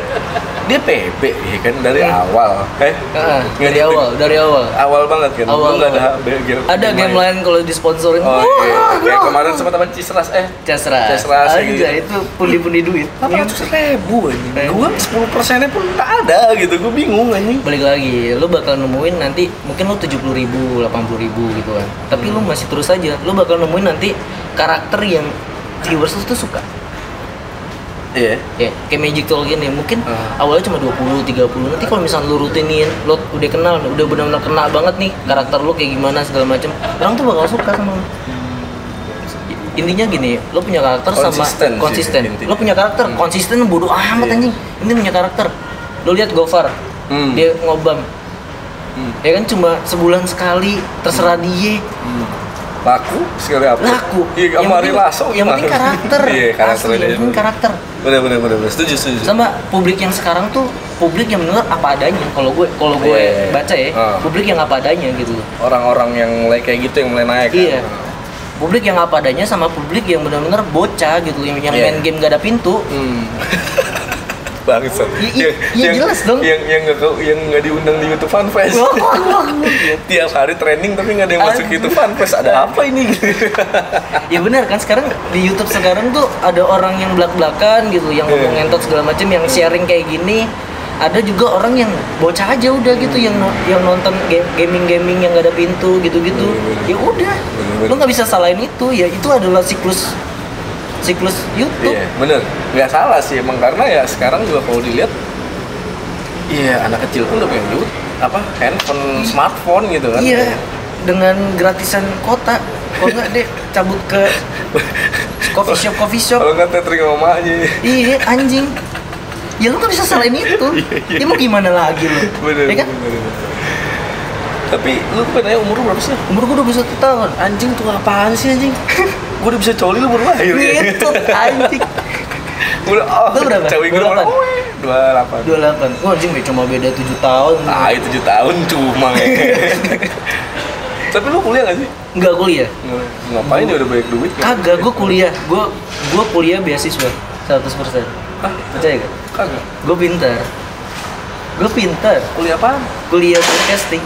A: dia PB ya kan dari awal eh
B: Hmm. Heeh, dari
A: Nggak
B: awal, dari awal.
A: awal banget kan
B: Awal.
A: Gua nggak ada HP game
B: Ada game lain kalau disponsorin.
A: oh iya
B: Wah, bro.
A: kayak kemarin sempat sama Cisras eh
B: Casra.
A: Casra,
B: Aja,
A: kayak gitu.
B: itu pundi-pundi duit.
A: apa ratus ribu anjing
B: Iya. Eh.
A: gue sepuluh persennya pun tak ada gitu gue bingung anjing
B: Balik lagi, lu bakal nemuin nanti mungkin lu 70 ribu, 80 ribu gitu kan. Tapi
A: Hmm.
B: lu masih terus aja, lu bakal nemuin nanti karakter yang viewers lu tuh suka.
A: iya
B: Ya, kayak Magic Tool gini, mungkin
A: Ah.
B: awalnya cuma 20, 30. Nanti kalau misalnya lu rutinin, lu udah kenal, udah benar-benar kena banget nih karakter lu kayak gimana segala macam. Orang tuh bakal suka sama lu. Intinya gini, lo punya karakter
A: Hmm. Konsisten sih,
B: sama konsisten.
A: intinya. Hmm.
B: Lo punya karakter konsisten bodoh amat
A: Iya.
B: anjing. Ini punya karakter. Lo lihat Gofar,
A: Hmm.
B: dia ngobam.
A: Hmm.
B: Ya kan cuma sebulan sekali, terserah dia.
A: laku sekali apa
B: Laku.
A: iya
B: Yang
A: kamu hari
B: penting-
A: laso
B: Yang penting karakter.
A: iya karakter
B: Asli,
A: aja
B: yang penting karakter
A: bener bener bener bener. setuju setuju
B: sama publik yang sekarang tuh publik yang mendengar apa adanya kalau gue kalau gue
A: Iya.
B: baca ya
A: Ah. Iya.
B: publik yang apa adanya gitu loh
A: orang-orang yang mulai kayak gitu yang mulai naik kan?
B: iya publik yang apa adanya sama publik yang benar-benar bocah gitu yang, yang
A: Iya.
B: main game gak ada pintu
A: hmm. bangsat
B: Iya, iya, iya,
A: Yang-
B: jelas dong. Oh.
A: yang yang nggak ke- yang nggak diundang di YouTube FanFest tiap hari trending tapi nggak ada yang masuk
B: Anjing.
A: YouTube FanFest ada apa ini
B: ya benar kan sekarang di YouTube sekarang tuh ada orang yang belak belakan gitu yang
A: Iya.
B: ngomong ngentot segala macam yang sharing kayak gini ada juga orang yang bocah aja udah gitu yang no- yang nonton gaming gaming yang gak ada pintu gitu gitu
A: Iya,
B: ya udah
A: Bener-bener.
B: lo nggak bisa salahin itu ya itu adalah siklus siklus YouTube
A: Iya, bener. Nggak salah sih emang karena ya sekarang juga kalau dilihat, iya anak kecil pun udah pengen YouTube, apa handphone, smartphone gitu kan?
B: Iya, dengan gratisan kota. Kalau nggak deh cabut ke coffee shop coffee shop.
A: Kalau nggak tethering sama emak aja.
B: Iya anjing. Ya lu nggak bisa salahin itu. Ya mau gimana lagi lu?
A: Bener,
B: Ya kan?
A: bener, bener. Tapi lu katanya umur lu berapa sih?
B: Umur gua 21 tahun.
A: Anjing tuh apaan sih anjing? Gue udah bisa coli lu baru lahir.
B: Itu Gitu, anjing.
A: Gua udah oh,
B: Iya. Lu berapa?
A: Cewek gue berapa?
B: 28?
A: Dua delapan.
B: 28. Wah, anjing ya, cuma beda 7 tahun.
A: Ah, itu tujuh tahun cuma. ya. Tapi lu kuliah nggak sih?
B: Nggak kuliah.
A: Nggak. Ngapain dia udah banyak duit? kan?
B: Kagak gua kuliah. Gua gua kuliah beasiswa 100%.
A: Hah?
B: Percaya gak?
A: Kagak.
B: Gua pintar. Gua pintar.
A: Kuliah apaan?
B: Kuliah broadcasting.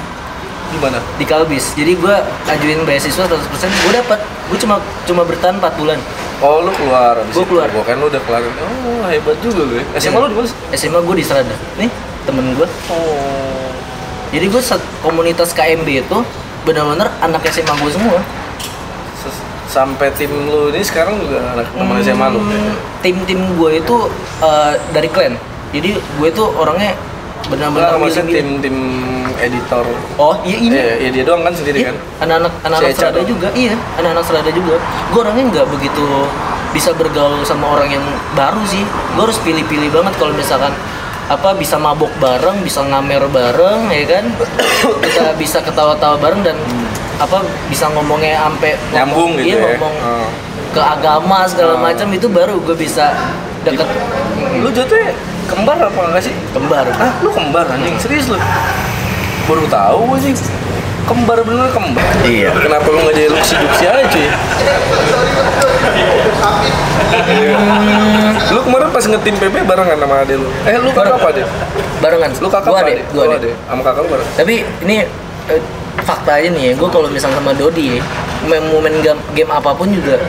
A: Di mana?
B: di Kalbis. Jadi gua ajuin beasiswa 100%, gua dapat. Gua cuma cuma bertahan 4 bulan.
A: Oh lu keluar abis
B: Gua
A: itu.
B: keluar.
A: Gua kan lu udah keluar Oh hebat juga lu ya SMA lu di mana sih?
B: SMA gua di Serada. Nih, temen gua.
A: Oh
B: Jadi gua set- komunitas KMB itu benar-benar anak SMA gua semua.
A: ses- Sampai tim lu ini sekarang juga anak teman SMA lu
B: Hmm, Tim-tim gua itu eh, dari klan. Jadi gue itu orangnya
A: Nggak,
B: benar-benar
A: maksudnya
B: milih-milih.
A: tim-tim editor.
B: oh iya ini
A: Iya, iya, dia doang kan sendiri
B: Iya,
A: kan?
B: anak-anak anak-anak
A: Si Eca
B: selada
A: dong.
B: juga iya anak-anak selada juga gue orangnya nggak begitu bisa bergaul sama orang yang baru sih gue harus pilih-pilih banget kalau misalkan apa bisa mabok bareng bisa ngamer bareng ya kan kita bisa ketawa-tawa bareng dan apa bisa ngomongnya ampe ngomong-
A: Hmm. Nyambung gitu
B: iya,
A: ya.
B: ngomong
A: Oh.
B: ke agama segala
A: Oh.
B: macam itu baru gue bisa deket
A: Lu jatuhnya kembar apa enggak sih?
B: kembar
A: Hah, Ah, lu kembar anjing? Serius lu? Baru tahu anjing. Kembar bener kembar.
F: Iya.
A: Kenapa lu nggak jadi luksi juksi aja cuy?
B: Iya.
A: lu kemarin pas ngetim PP barengan sama ade lu? Eh lu kakak apa ade?
B: barengan
A: Lu kakak
B: Gua
A: apa Oh,
B: adek,
A: ade?
B: gua
A: Lu
B: adek.
A: ade? Sama kakak lu bareng?
B: tapi ini eh, fakta aja nih ya gue kalau misalnya sama Dodi ya main mau main game, game apapun juga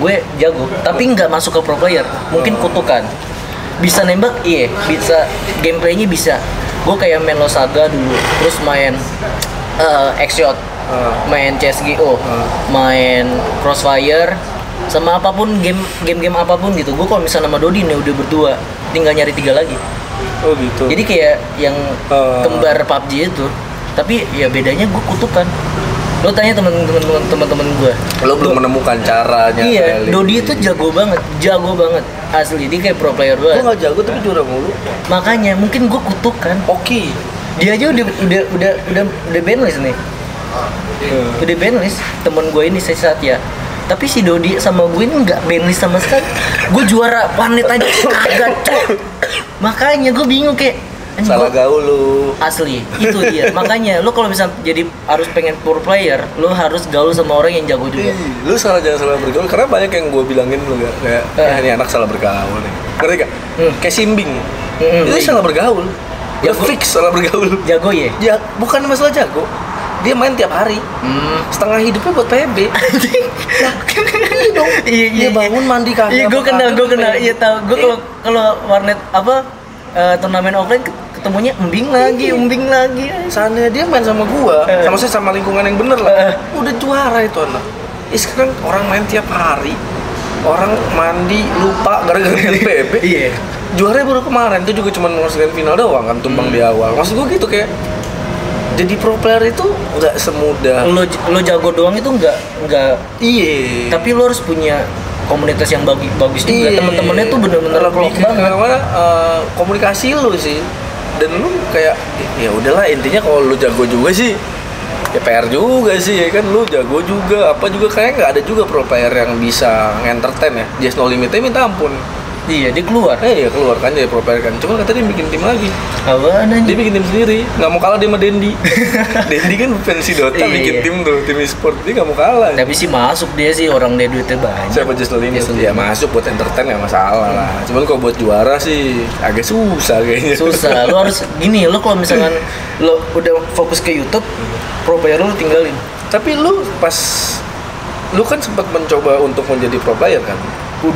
B: gue jago tapi nggak masuk ke pro player mungkin kutukan bisa nembak iya bisa gameplaynya bisa gue kayak main Losaga dulu terus main eh Xshot
A: Ah.
B: main CSGO main Crossfire sama apapun game game game apapun gitu gue kalau misalnya sama Dodi nih udah berdua tinggal nyari tiga lagi
A: Oh gitu.
B: jadi kayak yang
A: Eh.
B: kembar PUBG itu, tapi ya bedanya gue kutukan. Lo tanya temen-temen temen-temen gue.
A: lu belum menemukan caranya.
B: Iya,
A: kali.
B: Dodi itu jago banget, jago banget. Asli dia kayak pro player
A: Gua
B: banget.
A: nggak jago tapi juara mulu.
B: Makanya mungkin gue kutukan.
A: Oke.
B: Dia aja udah udah udah udah udah banlist nih. Udah banlist temen gue ini saya Satya. Tapi si Dodi sama gue ini nggak banlist sama sekali. Gue juara planet aja kagak cuy. Makanya gue bingung kayak anjing,
A: Salah
B: gua-
A: gaul lu.
B: asli itu dia makanya lo kalau bisa jadi harus pengen pure player lo harus gaul sama orang yang jago juga
A: Ih, Iya. lu salah jangan salah bergaul karena banyak yang gue bilangin lu nggak kayak
B: Eh.
A: "Ah, ini anak salah bergaul nih ngerti gak?
B: Hmm.
A: kayak simbing
B: Hmm,
A: itu
B: iya.
A: salah bergaul
B: Ya,
A: udah
B: gua-
A: fix salah bergaul
B: jago ya
A: ya bukan masalah jago dia main tiap hari
B: Hmm.
A: setengah hidupnya buat PB
B: iya dong iya,
A: dia bangun, mandi, gitu. kagak
B: iya gue
A: apa
B: kenal
A: kagak,
B: gue kenal
A: pengen.
B: iya tahu gue kalau kalau warnet apa eh, turnamen offline ket- ketemunya embing lagi
A: Iya.
B: embing lagi
A: sana dia main sama gua
B: Eh.
A: sama saya sama lingkungan yang bener
B: Eh.
A: lah udah juara itu anak ya sekarang orang main tiap hari orang mandi lupa gara-gara main PB
B: iya
A: juaranya baru kemarin itu juga cuma menghasilkan final doang kan
B: Hmm.
A: tumbang di awal maksud gue gitu kayak jadi pro player itu nggak semudah
B: lo lo jago doang itu nggak nggak
A: iya
B: tapi lo harus punya komunitas yang bagi, bagus juga
A: Iya.
B: temen-temennya tuh bener-bener
A: lebih
B: klop
A: ke
B: banget
A: mana eh, komunikasi lu sih dan lu kayak ya udahlah intinya kalau lu jago juga sih ya PR juga sih ya kan lu jago juga apa juga kayak nggak ada juga pro player yang bisa entertain ya just no limitnya minta ampun
B: iya dia keluar
A: eh ya keluar kan jadi pro player kan cuma katanya dia bikin tim lagi
B: apaan anjing
A: dia bikin tim sendiri nggak mau kalah dia sama Dendi Dendi kan pensi Dota
B: Iya,
A: bikin
B: iya.
A: tim tuh tim e-sport dia nggak mau kalah
B: Tapi sih masuk dia sih orang dia duitnya banyak.
A: siapa Just Lolin
B: Just
A: ya masuk buat entertain nggak masalah lah
B: Hmm.
A: cuman kalau buat juara sih agak susah kayaknya
B: Susah. Lu harus gini, lu kalau misalkan lu udah fokus ke YouTube, pro player lu tinggalin.
A: tapi lu pas lu kan sempat mencoba untuk menjadi pro player kan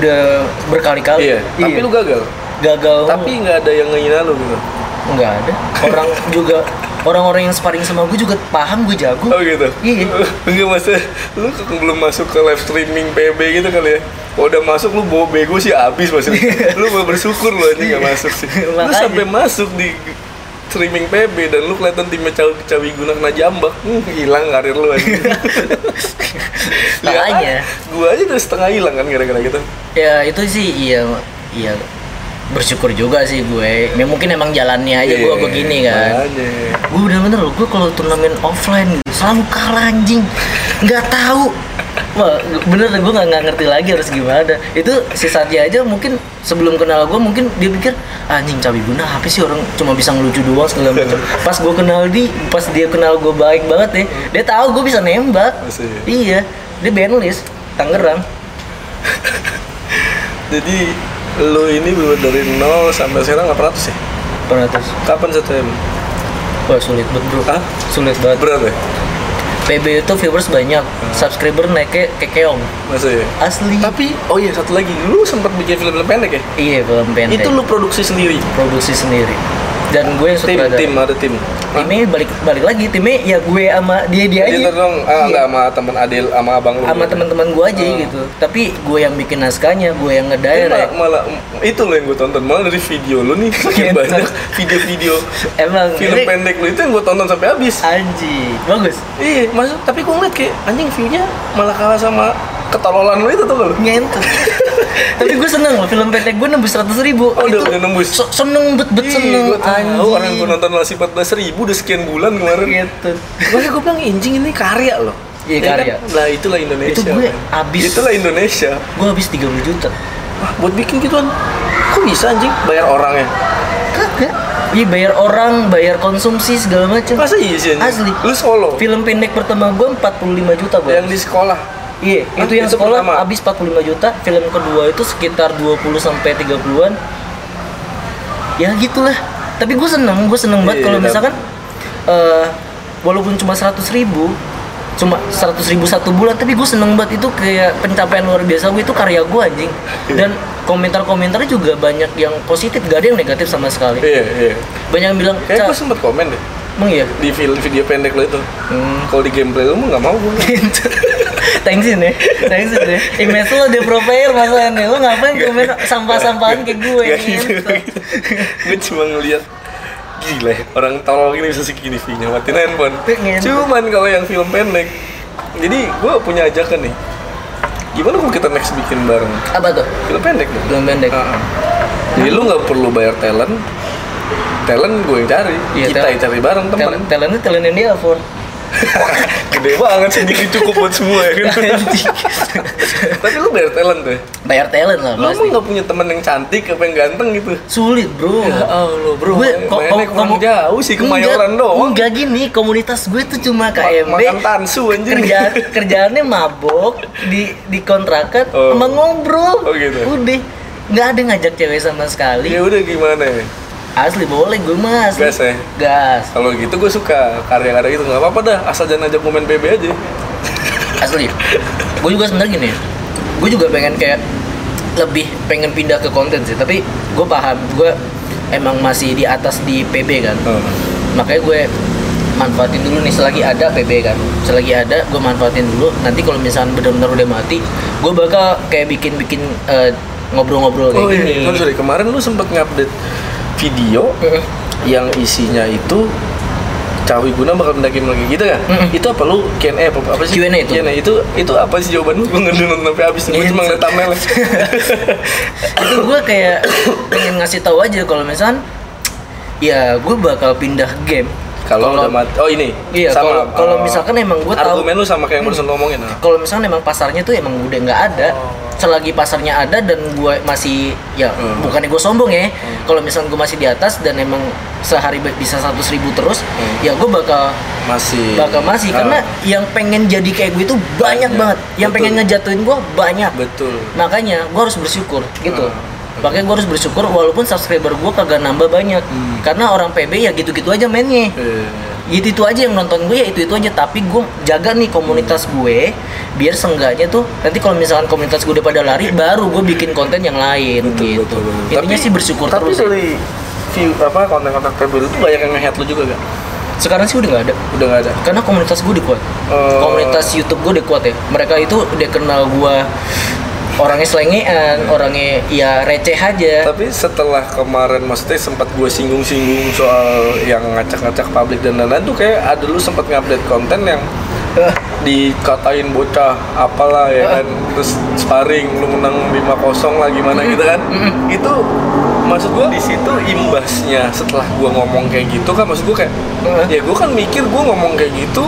B: Udah berkali-kali.
A: tapi lu gagal
B: gagal.
A: Iya. tapi nggak ada yang ngehina lu gitu
B: nggak ada. Orang juga orang-orang yang sparring sama gue juga paham gue jago.
A: oh gitu
B: Iya.
A: enggak maksudnya lu ke- belum masuk ke live streaming PB gitu kali ya kalau udah masuk lu bawa bego sih abis maksudnya lu mau bersyukur lu aja nggak masuk sih lu
B: Iya. Makanya.
A: sampai masuk di streaming PB dan lu kelihatan timnya cawi cawi guna kena jambak hmm, hilang karir lu aja
B: Makanya.
A: gua aja udah setengah hilang kan gara-gara gitu
B: Ya itu sih iya iya bersyukur juga sih gue. Ya, mungkin emang jalannya aja gue
A: Iya,
B: begini kan.
A: makanya.
B: gue bener-bener loh gue kalau turnamen offline gitu selalu kalah anjing nggak tahu Wah, bener gue nggak nggak ngerti lagi harus gimana itu si Satya aja mungkin sebelum kenal gue mungkin dia pikir anjing cabi guna apa sih orang cuma bisa ngelucu doang segala macam pas gue kenal di pas dia kenal gue baik banget ya dia tahu gue bisa nembak
A: Masih.
B: iya dia bandlist Tangerang
A: jadi lu ini belum dari nol sampai sekarang nggak pernah sih
B: pernah terus
A: kapan satu m
B: wah sulit banget bro
A: Hah?
B: sulit banget
A: berat ya
B: PB itu viewers banyak subscriber naiknya kekeong
A: masih ya?
B: asli
A: tapi oh iya satu lagi lu sempat bikin film-film pendek ya
B: Iya film pendek.
A: itu lu produksi sendiri
B: produksi sendiri. Dan gue yang
A: tim
B: sutradara.
A: tim ada tim
B: timnya balik balik lagi timnya ya gue sama dia dia
A: Jadi
B: aja
A: dong, ah,
B: Iya.
A: nggak sama teman Adil, sama abang lu.
B: sama
A: gitu.
B: teman-teman gue aja
A: Hmm.
B: gitu tapi gue yang bikin naskahnya gue yang
A: Ini malah,
B: ngedirect
A: malah- itu loh yang gue tonton malah dari video lo nih makin
B: Gitu.
A: banyak video-video
B: emang
A: film
B: ini-
A: pendek lo itu yang gue tonton sampai habis
B: Ah. anjing bagus
A: iya maksud tapi gue ngeliat kayak anjing viewnya malah kalah sama ketololan lo itu tuh lo
B: ngentut tapi gue seneng loh film pendek gue nembus seratus ribu
A: Oh, udah- udah nembus.
B: so- seneng bet bet seneng
A: gue Iya, tahu orang
B: anjing.
A: gue nonton masih 14 ribu udah sekian bulan kemarin
B: gitu
A: makanya gue bilang anjing ini karya loh
B: Iya,
A: Ya kan?
B: karya.
A: Nah itulah Indonesia.
B: Itu gue
A: men.
B: abis.
A: Itulah Indonesia.
B: gue habis 30 juta
A: Wah, buat bikin gituan, kok bisa anjing bayar orangnya?
B: kagak iya bayar orang bayar konsumsi segala macam
A: Masa iya sih anjing?
B: asli
A: Lu solo.
B: film pendek pertama gue 45 juta gue
A: Yang di sekolah.
B: iya
A: Hah?
B: itu yang
A: Itu
B: sekolah
A: pertama?
B: habis 45 juta film kedua itu sekitar 20 sampai 30-an ya gitulah tapi gue seneng gue seneng banget
A: Iya,
B: kalau
A: dap-
B: misalkan eh walaupun cuma 100 ribu cuma 100 ribu satu bulan tapi gue seneng banget itu kayak pencapaian luar biasa gue itu karya gue anjing
A: Iya.
B: dan komentar-komentarnya juga banyak yang positif gak ada yang negatif sama sekali
A: Iya, iya.
B: banyak yang bilang
A: Kayak gue
B: "Ca,
A: sempet komen deh
B: emang iya
A: di film video pendek lo itu.
B: Hmm.
A: Kalau di gameplay lo mah nggak mau gue.
B: gitu thanksin ya thanksin ya image lo udah pro player masalahnya lo ngapain komen sampah-sampahan kayak gue
A: Gak
B: gitu.
A: gitu. gue cuma ngeliat gila ya, orang tolol ini bisa segini view-nya matiin handphone.
B: Tapi ngentot.
A: Cuman kalau yang film pendek, jadi gue punya ajakan nih. Gimana kalau kita next bikin bareng
B: apa tuh
A: film pendek dong?
B: belum pendek
A: Heeh. Jadi lu nggak perlu bayar talent, talent gue yang cari,
B: Iya,
A: kita
B: talent.
A: yang cari bareng teman.
B: Talent, talentnya talent yang dia for
A: Gede banget sendiri cukup buat semua ya kan. Tapi lu bayar talent deh.
B: bayar talent lah
A: Lo
B: pasti
A: emang gak punya temen yang cantik apa yang ganteng gitu?
B: sulit bro
A: Ya Allah Iya, eh, bro,
B: gue
A: mainnya kurang jauh sih, kemayoran
B: Enggak-
A: doang.
B: enggak gini komunitas gue tuh cuma KMB
A: makan tansu anjing.
B: kerjaan kerjaannya mabok di di kontrakan
A: Oh.
B: sama
A: Oh,
B: ngobrol
A: gitu.
B: udah nggak ada ngajak cewek sama sekali
A: Ya udah gimana ya?
B: asli boleh gue mas
A: Gas ya?
B: gas
A: Kalau gitu gue suka karya-karya gitu, gak apa-apa dah asal jangan ajak momen PB aja
B: asli gue juga sebenarnya gini gue juga pengen kayak lebih pengen pindah ke konten sih tapi gue paham gue emang masih di atas di PB kan
A: Oh.
B: makanya gue manfaatin dulu nih selagi ada PB kan selagi ada gue manfaatin dulu nanti kalau misalnya benar-benar udah mati gue bakal kayak bikin-bikin eh, ngobrol-ngobrol kayak
A: Oh iya,
B: gini
A: iya. Kan, sorry, kemarin lu sempet ngupdate video
B: Mm-mm.
A: yang isinya itu Cawi Guna bakal mendaki lagi gitu kan?
B: Mm-mm.
A: Itu apa lu Q&A apa, apa sih?
B: Q&A itu.
A: itu itu apa sih jawaban lu? Gue nggak nonton sampai habis, gue cuma
B: Iya,
A: ngeliat thumbnail
B: itu gue kayak pengen ngasih tahu aja kalau misalnya ya gue bakal pindah game
A: Kalau udah mati, oh ini
B: Iya, kalau-
A: oh.
B: kalau misalkan emang gua tahu-
A: Argumen lu sama kayak yang barusan lu omongin ah.
B: kalau misalnya memang pasarnya tuh emang udah nggak ada
A: Oh.
B: selagi pasarnya ada dan gue masih ya
A: Hmm.
B: bukannya gue sombong ya kalau misalnya gue masih di atas dan emang sehari ba- bisa 100.000 ribu terus
A: Hmm.
B: ya gue bakal
A: masih
B: bakal masih
A: Ah,
B: karena yang pengen jadi kayak gue itu
A: Banyak.
B: banyak, banget yang
A: Betul.
B: pengen ngejatuhin gue banyak
A: betul
B: makanya gue harus bersyukur gitu
A: Hmm.
B: makanya gue harus bersyukur walaupun subscriber gue kagak nambah banyak
A: Hmm.
B: karena orang PB ya gitu-gitu aja
A: Eh,
B: mainnya itu itu aja yang nonton gue ya itu itu aja tapi gue jaga nih komunitas gue biar seenggaknya tuh nanti kalau misalkan komunitas gue udah pada lari baru gue bikin konten yang lain
A: betul
B: gitu
A: betul, betul.
B: intinya sih bersyukur
A: tapi
B: terus ya. sih.
A: dari view apa konten-konten kabel itu banyak yang nge-head lu juga gak?
B: sekarang sih udah nggak ada
A: udah gak ada
B: karena komunitas gue udah kuat
A: Oh.
B: komunitas YouTube gue udah kuat ya mereka itu udah kenal gue orangnya selengean orangnya ya receh aja
A: tapi setelah kemarin maksudnya sempat gue singgung-singgung soal yang ngacak-ngacak publik dan lain-lain tuh kayak ada lu sempat ngupdate konten yang dikatain bocah apalah ya kan terus sparring lu menang 5-0 lah gimana gitu kan itu maksud gua di situ imbasnya setelah gua ngomong kayak gitu kan maksud gua kayak
B: Mm.
A: ya gua kan mikir gua ngomong kayak gitu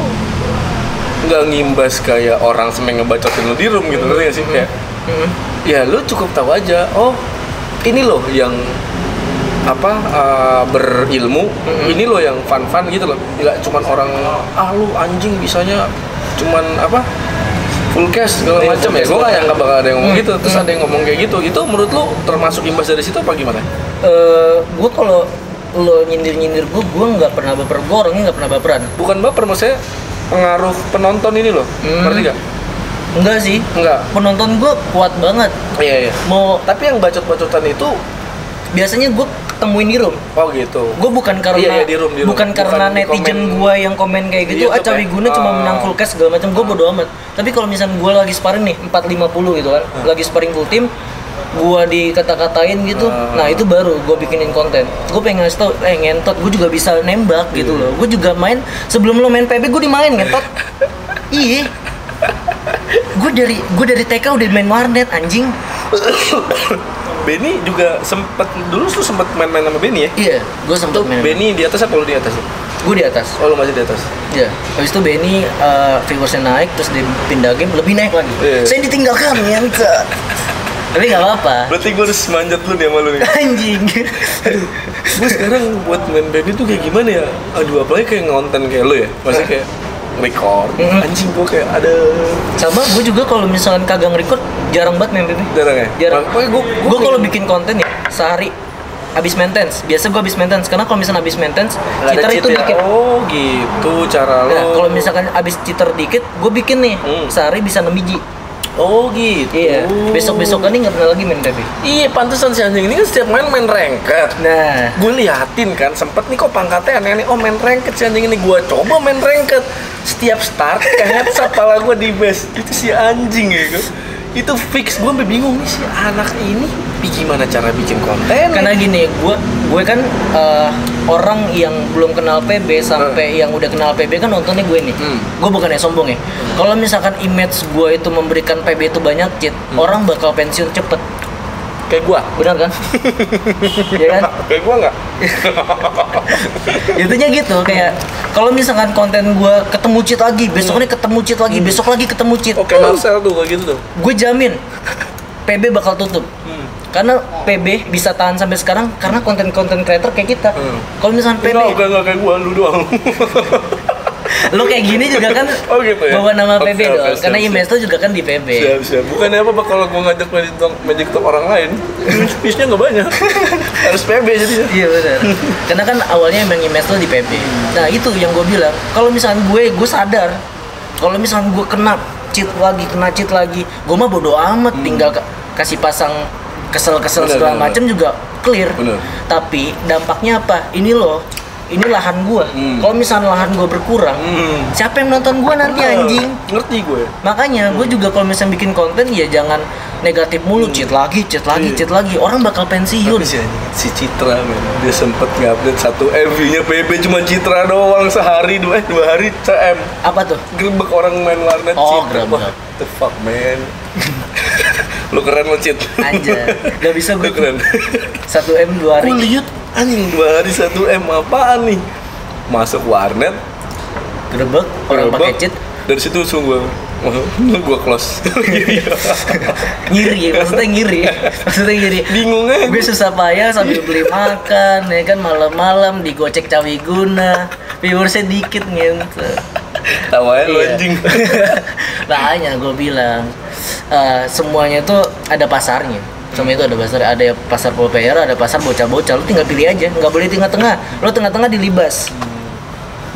A: nggak ngimbas kayak orang semeng ngebacotin lu di room gitu ngerti nggak sih kayak
B: Mm.
A: ya lu cukup tahu aja oh ini loh yang apa uh, berilmu ini loh yang fun fun gitu loh nggak cuman orang ah lu anjing bisanya cuman apa full cash segala
B: Iya,
A: macam
B: full
A: ya
B: cash.
A: gue nggak nyangka bakal ada yang ngomong
B: Hmm.
A: gitu terus ada yang ngomong kayak gitu itu menurut lu termasuk imbas dari situ apa gimana
B: Eh gue kalau lo nyindir nyindir gue gue nggak pernah baper gue orangnya nggak pernah baperan
A: bukan baper maksudnya pengaruh penonton ini loh
B: Hmm.
A: ngerti gak
B: enggak sih
A: enggak
B: penonton gue kuat banget
A: iya iya
B: mau
A: tapi yang bacot-bacotan itu
B: biasanya gue ketemuin di room
A: oh gitu
B: gue bukan karena
A: Iya, iya, di room, di room.
B: bukan
A: Bukan
B: karena
A: di
B: netizen
A: komen
B: gue yang komen kayak
A: di
B: gitu ah
A: YouTube
B: cawi
A: ya?"
B: guna cuma
A: Ah.
B: menang full cast segala macam gue bodo amat tapi kalau misalnya gue lagi sparring nih 450 gitu kan
A: Ah.
B: lagi sparring full team gue dikata-katain gitu
A: Ah.
B: nah itu baru gue bikinin konten gue pengen ngasih tau eh ngentot gue juga bisa nembak gitu
A: Iya.
B: loh gue juga main sebelum lo main PB gue dimain ngentot iya gue dari gue dari TK udah main warnet anjing
A: Benny juga sempet dulu tuh sempet main-main sama Benny ya
B: iya gue sempet main
A: Benny di atas apa lu di atas ya?
B: gue di atas
A: Oh lu masih di atas?
B: Ya, habis itu Benny uh, viewersnya naik, terus dia pindah game, lebih naik lagi.
A: Iya.
B: Saya ditinggalkan, ya. Tapi nggak apa-apa.
A: Berarti gue harus manjat lu nih sama lu nih
B: Anjing. Aduh.
A: gue sekarang buat main Benny tuh kayak gimana ya? Aduh apalagi kayak ngonten kayak lu ya? Maksudnya kayak record
B: Mm-mm.
A: Anjing gue kayak ada
B: Sama gue juga kalau misalkan kagak record jarang banget main BB.
A: Jarang ya?
B: Jarang.
A: Makanya gue
B: Gue kalau
A: gitu.
B: bikin konten ya sehari abis maintenance. Biasa gue abis maintenance karena kalau misalnya abis maintenance, cheater itu dikit.
A: Oh gitu cara lu
B: Nah, kalau misalkan abis cheater dikit, gue bikin nih
A: Hmm.
B: sehari bisa 6 biji.
A: Oh gitu
B: Iya. Besok besokan nih nggak pernah lagi main BB.
A: Iya pantesan si anjing ini kan setiap main main ranked
B: Nah,
A: gue liatin kan sempet nih kok pangkatnya aneh-aneh oh main ranked si anjing ini gue coba main ranked setiap start kayak kepala gue di base itu si anjing ya gua. itu fix gue sampai bingung nih si anak ini bi- gimana cara bikin konten
B: karena gini gue gue kan eh, orang yang belum kenal PB sampai yang udah kenal PB kan nontonnya gue nih
A: Eh. Hmm.
B: gue bukannya sombong ya kalau misalkan image gue itu memberikan PB itu banyak cheat
A: Hmm.
B: orang bakal pensiun cepet
A: kayak gue
B: benar kan ya kan
A: kayak gue nggak
B: Intinya gitu kayak kalau misalkan konten gue ketemu cheat lagi besoknya ketemu cheat lagi besok lagi ketemu cheat
A: Hmm. oke Marcel tuh kayak gitu tuh
B: gue jamin PB bakal tutup
A: Hmm.
B: karena PB bisa tahan sampai sekarang karena konten-konten creator kayak kita
A: Hmm.
B: kalau misalkan PB
A: Enggak, enggak, enggak kayak gue, lu doang
B: lo kayak gini juga kan
A: Oh, gitu ya?
B: bawa nama
A: Oke,
B: PB
A: oke,
B: dong
A: siap,
B: karena
A: siap.
B: image lo juga kan di PB
A: Siap, siap Bukannya apa, kalau gue ngajak main TikTok, main TikTok orang lain Views-nya nggak banyak Harus PB jadinya
B: iya benar karena kan awalnya emang image lo di PB nah itu yang gue bilang kalau misalkan gue gue sadar kalau misalkan gue kena cheat lagi kena cheat lagi gue mah bodo amat tinggal ka- kasih pasang kesel-kesel
A: Hmm. Benar,
B: segala
A: benar,
B: macem juga clear
A: Benar.
B: tapi dampaknya apa ini loh ini lahan gue
A: Hmm.
B: kalau misalkan lahan gue berkurang
A: Hmm.
B: siapa yang nonton gue nanti anjing
A: Ngerti gue
B: Makanya gue juga kalau misalnya bikin konten ya jangan negatif mulu, cheat lagi, cheat lagi,
A: Hmm. Iya.
B: cheat lagi. Orang bakal pensiun.
A: Tapi si, anjing- si Citra men, dia sempet ngupdate satu MV-nya PB cuma Citra doang sehari dua eh, dua hari CM
B: Apa tuh?
A: gerbek orang main warnet
B: Oh,
A: Citra.
B: gerbek.
A: Wah, the fuck man. lu keren lu Cit.
B: Anjir, gak bisa
A: lu
B: gue
A: keren.
B: 1 M 2 hari.
A: Gue liat anjing dua hari satu M apaan nih? Masuk warnet,
B: Gerebek, orang
A: gerbek.
B: pakai cheat,
A: Dari situ langsung gue gue close.
B: ngiri, maksudnya ngiri. Maksudnya ngiri.
A: Bingung aja.
B: Gue susah payah sambil beli makan, ya kan malam-malam digocek cawi guna. Viewersnya dikit ngentot.
A: Tawanya lu
B: Iya.
A: anjing.
B: Makanya gue bilang eh, semuanya tuh ada pasarnya. Semua itu ada pasar, ada pasar PPR, ada pasar bocah-bocah. Lu tinggal pilih aja, nggak boleh tengah-tengah. Lu tengah-tengah dilibas.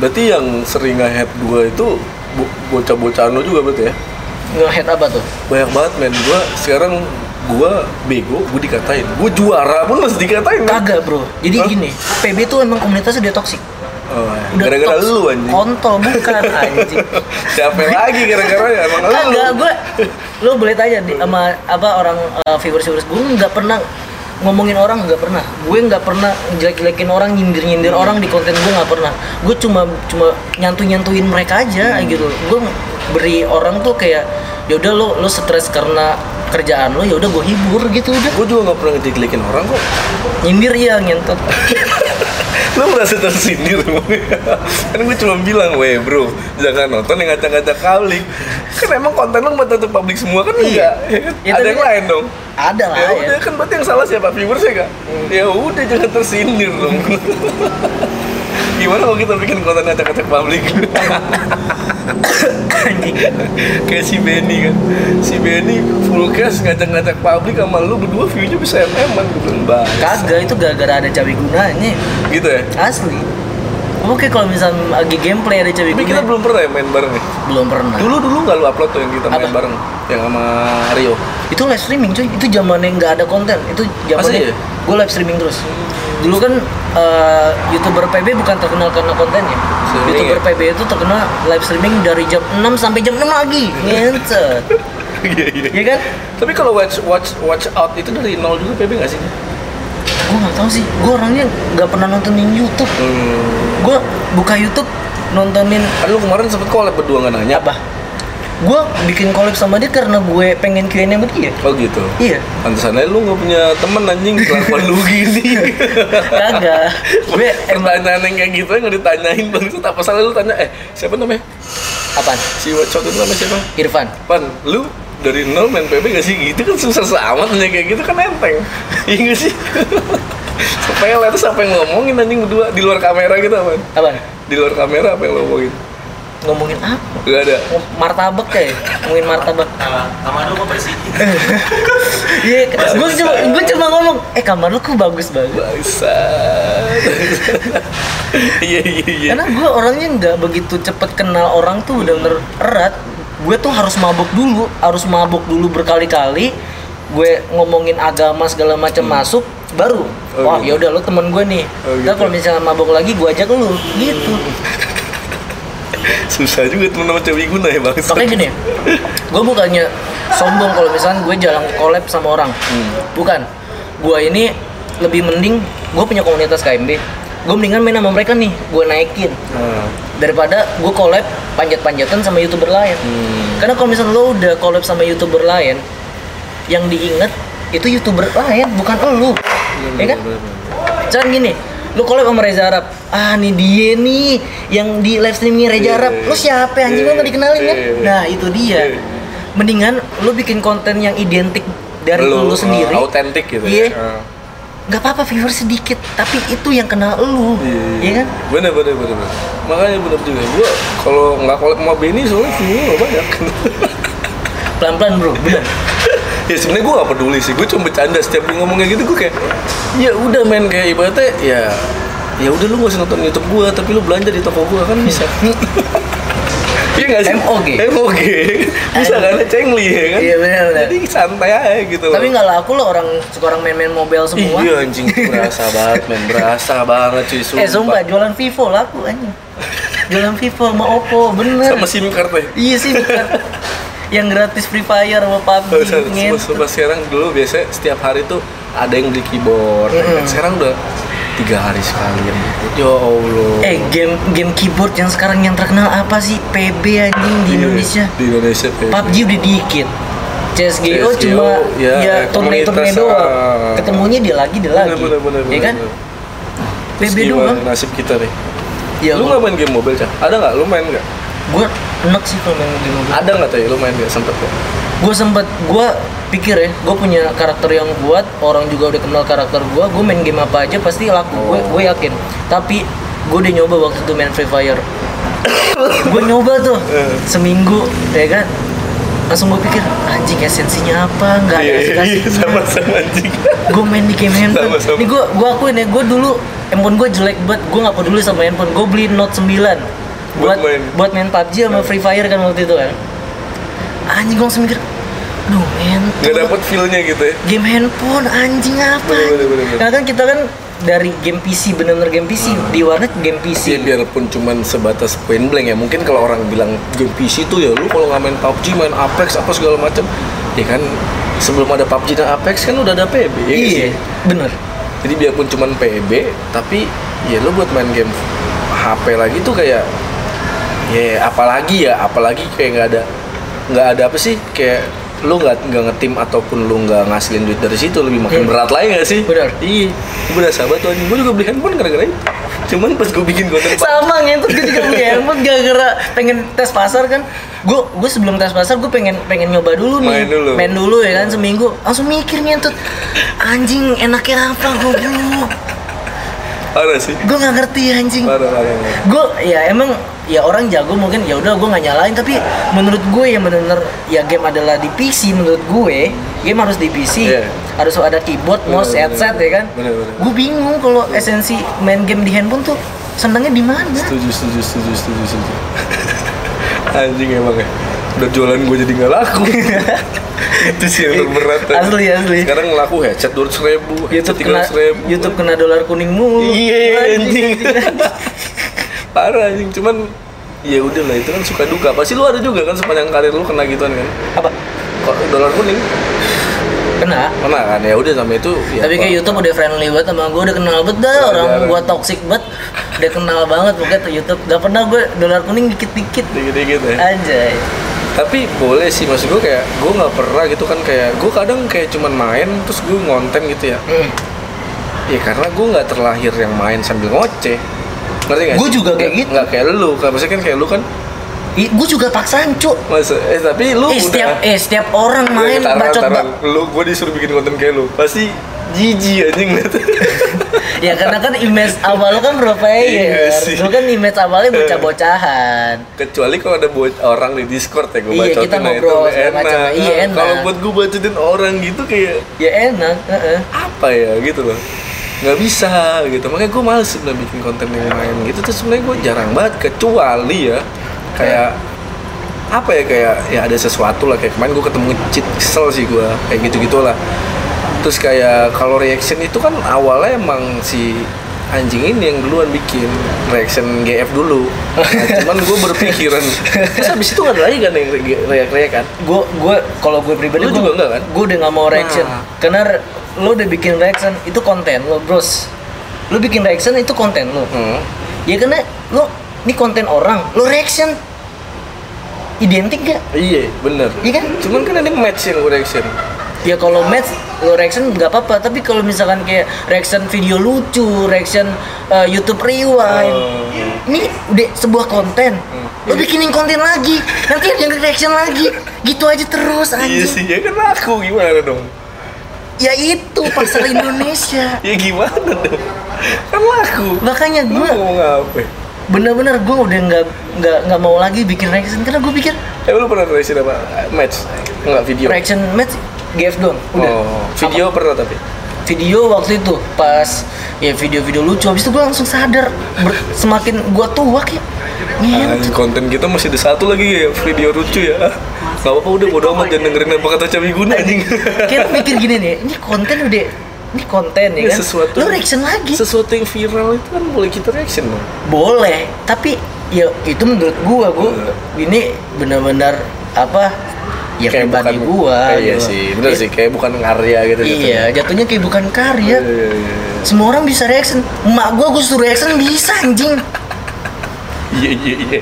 A: Berarti yang sering nge-head gue itu bo- bocah-bocahan lu juga berarti ya?
B: Ngehead apa tuh?
A: banyak banget men gua sekarang gua bego gua dikatain gua juara pun masih dikatain men.
B: Kagak bro. Jadi
A: Hah?
B: gini, PB tuh emang komunitasnya udah toksik.
A: Oh,
B: Udah
A: gara-gara
B: toksik.
A: lu anjing
B: Kontol bukan anjing.
A: siapa lagi gara-gara ya emang lu
B: Kagak gue. Lu boleh tanya di, sama apa orang eh, viewers-viewers gue nggak pernah ngomongin orang nggak pernah gue nggak pernah jelek-jelekin orang nyindir-nyindir orang di konten gue nggak pernah gue cuma cuma nyantuin-nyantuin mereka aja
A: Hmm.
B: gitu gue beri orang tuh kayak ya udah lo lo stres karena kerjaan lo ya udah gue hibur gitu udah
A: gua juga gak pernah ngejelekin orang kok
B: nyindir ya ngentot
A: lu merasa tersindir kan gua cuma bilang weh bro jangan nonton yang ngacak-ngacak kali kan emang konten lu buat untuk publik semua kan
B: Iya.
A: enggak ya kan?
B: Ya,
A: ada
B: tapi
A: yang
B: kan-
A: lain dong
B: ada lah
A: ya
B: ya,
A: udah kan berarti yang salah siapa viewers ya kak ya udah jangan tersindir dong gimana kalau kita bikin konten acak-acak publik
B: anjing
A: kayak si Benny kan si Benny full cast ngacak-ngacak publik sama lu berdua view-nya bisa mm an gitu mbak
B: kagak itu gara-gara ada cabai gunanya
A: gitu ya
B: asli oke kalau misalnya lagi gameplay ada cabai
A: tapi kita
B: gunanya,
A: belum pernah ya main bareng ya
B: belum pernah
A: dulu dulu nggak lu upload tuh yang kita main
B: Apa?
A: bareng yang sama Rio
B: itu live streaming cuy itu zamannya nggak ada konten itu
A: Masa
B: zamannya
A: iya?
B: gue live streaming terus dulu kan eh, youtuber PB bukan terkenal karena kontennya
A: Streaming
B: youtuber
A: ya?
B: PB itu terkenal live streaming dari jam 6 sampai jam 6 lagi ngencet
A: Iya, iya.
B: ya kan
A: Tapi kalau watch watch watch out itu dari nol juga PB nggak sih?
B: gue nggak tahu sih gue orangnya nggak pernah nontonin YouTube
A: Hmm.
B: gue buka YouTube nontonin
A: Kan lu kemarin sempet collab berdua nggak nanya?
B: apa gue bikin collab sama dia karena gue pengen Q&A sama dia
A: Oh gitu.
B: iya
A: Pantesan aja lu nggak punya temen anjing kelakuan lu gini.
B: kagak gue eh, emang
A: Pertanyaan yang kayak gitu nggak ditanyain bang. Itu tak salah lu tanya eh siapa namanya?
B: apaan
A: Si watch out itu namanya siapa?
B: Irfan
A: Pan, lu dari nol main PB gak sih gitu kan susah amat nanya kayak gitu kan enteng iya gak sih sepele terus apa yang ngomongin anjing berdua di luar kamera gitu apa
B: apaan
A: di luar kamera apa yang lo ngomongin
B: ngomongin apa
A: gak ada
B: Ngom- Oh, martabak kayak ngomongin martabak
F: Sama lu apa sih?
B: iya gue cuma gue cuma ngomong eh kamar lu kok bagus banget
A: Bangsa. Iya iya iya.
B: karena gue orangnya nggak begitu cepet kenal orang tuh udah bener erat gue tuh harus mabuk dulu harus mabuk dulu berkali-kali gue ngomongin agama segala macam masuk baru
A: Hmm. Oh,
B: wah
A: gitu.
B: ya udah lu temen gue nih
A: Oh,
B: Ntar
A: gitu.
B: kalau misalnya mabuk lagi gue ajak lu gitu
A: Susah juga temen sama cewek guna ya bangsa.
B: Makanya gini, gue bukannya sombong kalau misalnya gue jalan collab sama orang. Bukan. Gue ini lebih mending, gue punya komunitas KMB. Gue mendingan main sama mereka nih, gue naikin.
A: Nah,
B: Daripada gue collab panjat-panjatan sama youtuber lain. Karena kalau misalnya lo udah collab sama youtuber lain, yang diinget itu youtuber lain, bukan lo. Ya kan? Jangan gini, lu collab sama Reza Arab. Ah, nih dia nih yang di live streaming Reza
A: Iya,
B: Arab.
A: iya.
B: Lu siapa anjing
A: Iya,
B: lu nggak dikenalin kan?
A: iya, iya.
B: Nah, itu dia.
A: Iya.
B: Mendingan lu bikin konten yang identik dari
A: Lu,
B: lu,
A: uh,
B: sendiri.
A: autentik gitu ya.
B: Iya.
A: Uh.
B: Nggak apa-apa viewer sedikit, tapi itu yang kenal lu. Iya kan?
A: Bener bener bener. bener. Makanya bener juga. Gua kalau nggak kolab sama Benny soalnya view nggak banyak.
B: Pelan-pelan,
A: Iya.
B: Bro. Bener.
A: ya sebenarnya gue gak peduli sih. Gue cuma bercanda setiap dia ngomong kayak gitu gue kayak ya udah men kayak ibaratnya ya ya udah lu gak usah nonton YouTube gue tapi lu belanja di toko gue kan bisa. Iya gak sih?
B: MOG.
A: MOG. Bisa kan? Cengli ya kan?
B: Iya, bener, bener.
A: Jadi santai aja gitu.
B: Tapi nggak laku lo orang suka orang main-main mobile semua.
A: Iya anjing berasa banget men, berasa banget cuy sumpah.
B: eh, sumpah jualan Vivo laku anjing. jualan Vivo sama Oppo, bener.
A: Sama SIM card ya.
B: Iya sih bukan. yang gratis Free Fire sama PUBG
A: Kalau misalnya
B: ngin.
A: sumpah- sumpah sekarang dulu biasanya setiap hari tuh ada yang beli keyboard. ya kan?
B: Mm-mm.
A: Sekarang udah tiga hari sekali. yang beli. Ya Allah.
B: Eh game game keyboard yang sekarang yang terkenal apa sih? PB anjing di
A: Iya,
B: Indonesia.
A: Di Indonesia. kayak
B: PUBG udah dikit. CSGO,
A: CS:GO,
B: cuma
A: ya,
B: ya,
A: eh,
B: turne turne
A: komunitas,
B: doang.
A: ah.
B: Ketemunya dia lagi dia
A: Bener,
B: lagi.
A: bener, bener,
B: ya
A: bener,
B: kan?
A: bener. Terus
B: PB
A: gimana
B: doang.
A: Nasib kita nih.
B: Ya,
A: lu nggak main game mobile cah? Ada nggak? Lu main nggak?
B: gue enak sih kalau main game mobile.
A: Ada nggak tadi? Lu main nggak sempet kok?
B: gue sempet gue pikir ya gue punya karakter yang kuat orang juga udah kenal karakter gue gue main game apa aja pasti laku gue
A: Oh.
B: gue yakin tapi gue udah nyoba waktu itu main free fire gue nyoba tuh
A: Eh.
B: seminggu ya kan langsung gue pikir anjing esensinya apa
A: Iya,
B: nggak ada esensinya
A: sama sama anjing.
B: gue main di game handphone
A: Sama-sama.
B: ini gue gue akuin ya gue dulu handphone gue jelek banget gue nggak peduli sama handphone gue beli note 9 buat
A: Buat main. Nah.
B: buat main PUBG sama Free Fire kan waktu itu kan anjing gue langsung mikir aduh men
A: Nggak dapet feel-nya gitu ya?
B: game handphone anjing apa
A: Bener, bener, bener, bener. Ah.
B: nah kan kita kan dari game PC bener-bener game PC di warnet game
A: Ya
B: PC
A: biarpun cuman sebatas point blank ya mungkin kalau orang bilang game PC tuh ya lu kalau nggak main PUBG main Apex apa segala macem ya kan sebelum ada PUBG dan Apex kan udah ada PB ya nggak sih?
B: iya bener
A: jadi biarpun cuman PB tapi ya lu buat main game HP lagi tuh kayak ya apalagi ya apalagi kayak nggak ada nggak ada apa sih kayak lu nggak nggak ngetim ataupun lu nggak ngasilin duit dari situ lebih makin
B: Hmm.
A: berat lagi nggak sih
B: Benar.
A: iya gue udah sahabat tuh anjing gue juga beli handphone gara-gara itu cuman pas gue bikin konten
B: sama ngentot gue juga punya handphone gara-gara pengen tes pasar kan gue gue sebelum tes pasar gue pengen pengen nyoba dulu nih
A: Main dulu.
B: main dulu ya kan seminggu langsung mikir ngentot anjing enaknya apa gue
A: parah sih
B: gue nggak ngerti anjing
A: parah parah, parah.
B: gue ya emang ya orang jago mungkin ya udah gue nggak nyalain tapi menurut gue yang bener-bener ya game adalah di PC menurut gue game harus di PC
A: Iya.
B: harus ada keyboard mouse
A: Bener, bener,
B: headset ya kan
A: bener, bener.
B: gue bingung kalau esensi main game di handphone tuh senangnya di mana
A: setuju setuju setuju setuju setuju anjing emang ya udah jualan gue jadi nggak laku itu sih yang terberat tadi.
B: Asli, asli.
A: sekarang laku headset dua ratus ribu headset
B: YouTube
A: tiga
B: kena
A: ratus ribu
B: YouTube kena dolar kuning mulu.
A: Iya, anjing. parah anjing cuman ya udah lah itu kan suka duka pasti lu ada juga kan sepanjang karir lu kena gituan kan
B: Apa?
A: kok dolar kuning
B: Kena.
A: kena kan ya udah sama itu ya
B: Tapi kayak
A: apa.
B: YouTube udah friendly banget sama gue, udah kenal banget dah orang
A: Jarang.
B: gue toxic banget, udah kenal banget pokoknya tuh YouTube. Gak pernah gue dolar kuning dikit-dikit
A: dikit-dikit ya
B: aja.
A: tapi boleh sih maksud gue kayak gue nggak pernah gitu kan kayak gue kadang kayak cuman main terus gue ngonten gitu ya
B: Hmm.
A: ya karena gue nggak terlahir yang main sambil ngoceh ngerti nggak
B: Gua
A: sih?
B: juga kayak
A: Nggak-
B: gitu.
A: nggak kayak lu kan maksudnya kan kayak lu kan
B: Gue juga paksaan cuk.
A: masa eh tapi lu
B: Eh setiap eh setiap orang
A: Udah,
B: main
A: taruh,
B: bacot
A: taruh.
B: bak.
A: lu gue disuruh bikin konten kayak lu pasti jijik anjing ngeliat
B: Ya karena kan image awal lo kan
A: Iya
B: berplayer.
A: sih. Iya.
B: Lo kan image awalnya bocah-bocahan.
A: kecuali kalau ada buat orang di Discord ya gue
B: Iya,
A: bacotin
B: kita
A: nah, itu
B: ngobrol
A: udah
B: segala
A: enak.
B: macam. Iya,
A: Nah, Kalau
B: enak.
A: buat gue bacotin orang gitu kayak
B: Ya enak. heeh.
A: apa ya gitu loh nggak bisa gitu makanya gue males sebenarnya bikin konten yang lain gitu terus sebenarnya gue jarang banget kecuali ya kayak apa ya kayak ya ada sesuatu lah kayak kemarin gue ketemu cheat kesel sih gue kayak gitu gitulah terus kayak kalau reaction itu kan awalnya emang si anjing ini yang duluan bikin reaction GF dulu Nah, cuman gue berpikiran terus habis itu nggak ada lagi kan yang re- reak-reak kan
B: gue gue kalau gue
A: Lu
B: pribadi gua-
A: juga enggak kan?
B: gue udah nggak mau reaction
A: Nah.
B: karena re- lo udah bikin reaction itu konten lo bros lo bikin reaction itu konten lo
A: hmm.
B: ya karena lo ini konten orang lo reaction identik gak
A: iya bener
B: Iya kan?
A: cuman kan ada match yang gue reaction
B: ya kalau match lo reaction nggak apa-apa tapi kalau misalkan kayak reaction video lucu reaction uh, YouTube rewind
A: Oh. Hmm.
B: ini udah sebuah konten lo bikinin konten lagi nanti ada yang reaction lagi gitu aja terus
A: Iya
B: anjing
A: sih, ya kan aku gimana dong?
B: ya itu pasar Indonesia
A: Ya gimana dong? Kan laku.
B: makanya
A: Lu
B: gue
A: mau ngapain?
B: bener-bener gue udah nggak nggak nggak mau lagi bikin reaction karena gue pikir
A: Eh lu pernah reaction apa? Match? Enggak video.
B: reaction match GF doang udah
A: Oh, video pernah tapi.
B: video waktu itu pas ya video-video lucu habis itu gue langsung sadar ber- semakin gue tua kayak
A: Anjing,
B: ngentot
A: konten kita masih ada satu lagi ya, video lucu ya. Ah, Gak apa-apa udah bodo amat jangan dengerin apa kata Cawi Guna anjing.
B: kayak lu mikir gini nih ini konten udah ini konten ya
A: Ini
B: kan
A: sesuatu-
B: lu reaction lagi
A: Sesuatu yang viral itu kan boleh kita reaction dong.
B: boleh tapi ya itu menurut gua gua ini benar-benar apa ya pribadi
A: bukan-
B: gua
A: Eh, iya
B: gitu.
A: sih, bener
B: Ya,
A: sih kayak bukan karya gitu
B: iya jatuhnya kayak bukan karya
A: jatuhnya. Iya, iya, iya.
B: semua orang bisa reaction emak gua gua suruh reaction bisa anjing
A: Iya, iya, iya.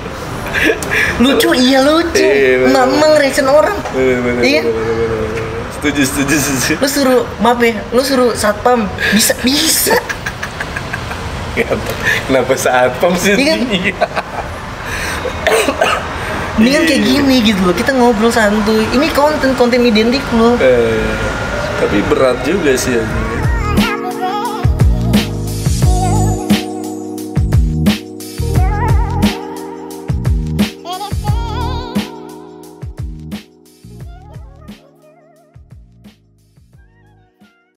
B: lucu iya lucu
A: Iya, bener.
B: emak emang reaction orang
A: Bener, bener,
B: iya
A: bener, bener, bener, bener. Setuju, setuju, setuju.
B: lu suruh maaf ya lu suruh satpam bisa bisa
A: Kenapa- Kenapa saat pom sih?
B: Iya kan?
A: Iya.
B: ini kan kayak gini gitu loh kita ngobrol santuy ini konten konten identik lo
A: Eh, tapi berat juga sih anjing.